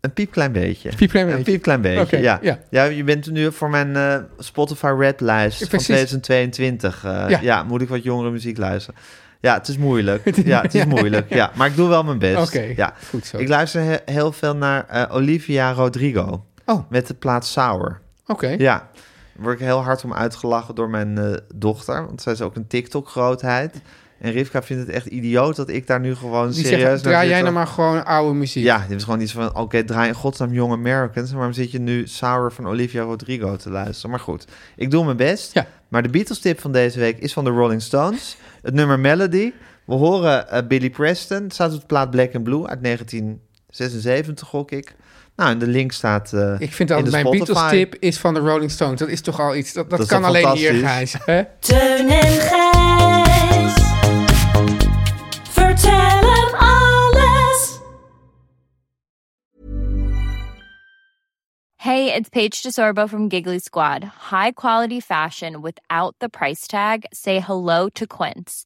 [SPEAKER 1] Een piepklein beetje.
[SPEAKER 2] piepklein
[SPEAKER 1] Een
[SPEAKER 2] beetje.
[SPEAKER 1] piepklein beetje,
[SPEAKER 2] Oké,
[SPEAKER 1] ja. ja.
[SPEAKER 2] ja.
[SPEAKER 1] je bent nu voor mijn eh, Spotify Red lijst van
[SPEAKER 2] Precies.
[SPEAKER 1] 2022. eh, ja.
[SPEAKER 2] Ja.
[SPEAKER 1] moet ik wat jongere muziek luisteren. Ja, het is moeilijk. Ja, het is moeilijk. Ja, maar ik doe wel mijn best.
[SPEAKER 2] Oké,
[SPEAKER 1] ja.
[SPEAKER 2] goed zo.
[SPEAKER 1] Ik luister he- heel veel naar eh, Olivia Rodrigo
[SPEAKER 2] Oh,
[SPEAKER 1] met de plaat Sour.
[SPEAKER 2] oké.
[SPEAKER 1] Ja, daar word ik heel hard om uitgelachen door mijn eh, dochter. Want zij is ook een TikTok-grootheid. En Rivka vindt het echt idioot dat ik daar nu gewoon
[SPEAKER 2] Die
[SPEAKER 1] serieus
[SPEAKER 2] zeggen,
[SPEAKER 1] naar
[SPEAKER 2] draai
[SPEAKER 1] zit
[SPEAKER 2] jij
[SPEAKER 1] te-
[SPEAKER 2] nou maar gewoon oude muziek.
[SPEAKER 1] ja, dit is gewoon iets van... Oké, draai in godsnaam Young Americans. en Waarom zit je nu Sour van Olivia Rodrigo te luisteren? Maar goed, ik doe mijn best.
[SPEAKER 2] Ja.
[SPEAKER 1] Maar de Beatles-tip van deze week is van de Rolling Stones. Het nummer Melody. We horen eh, Billy Preston. Het staat op de plaat Black and Blue uit 1976, gok ik. Nou, en de link staat eh,
[SPEAKER 2] Ik vind
[SPEAKER 1] in de
[SPEAKER 2] altijd, mijn
[SPEAKER 1] Spotify.
[SPEAKER 2] Beatles-tip is van de Rolling Stones. Dat is toch al iets, dat, dat,
[SPEAKER 1] Dat is
[SPEAKER 2] kan
[SPEAKER 1] toch
[SPEAKER 2] alleen hier,
[SPEAKER 1] fantastisch?
[SPEAKER 2] Gijs. Hè?
[SPEAKER 5] Teun en Gijs. Vertel hem alles.
[SPEAKER 7] Hey, it's Paige DeSorbo from Giggly Squad. High quality fashion without the price tag. Say hello to Quince.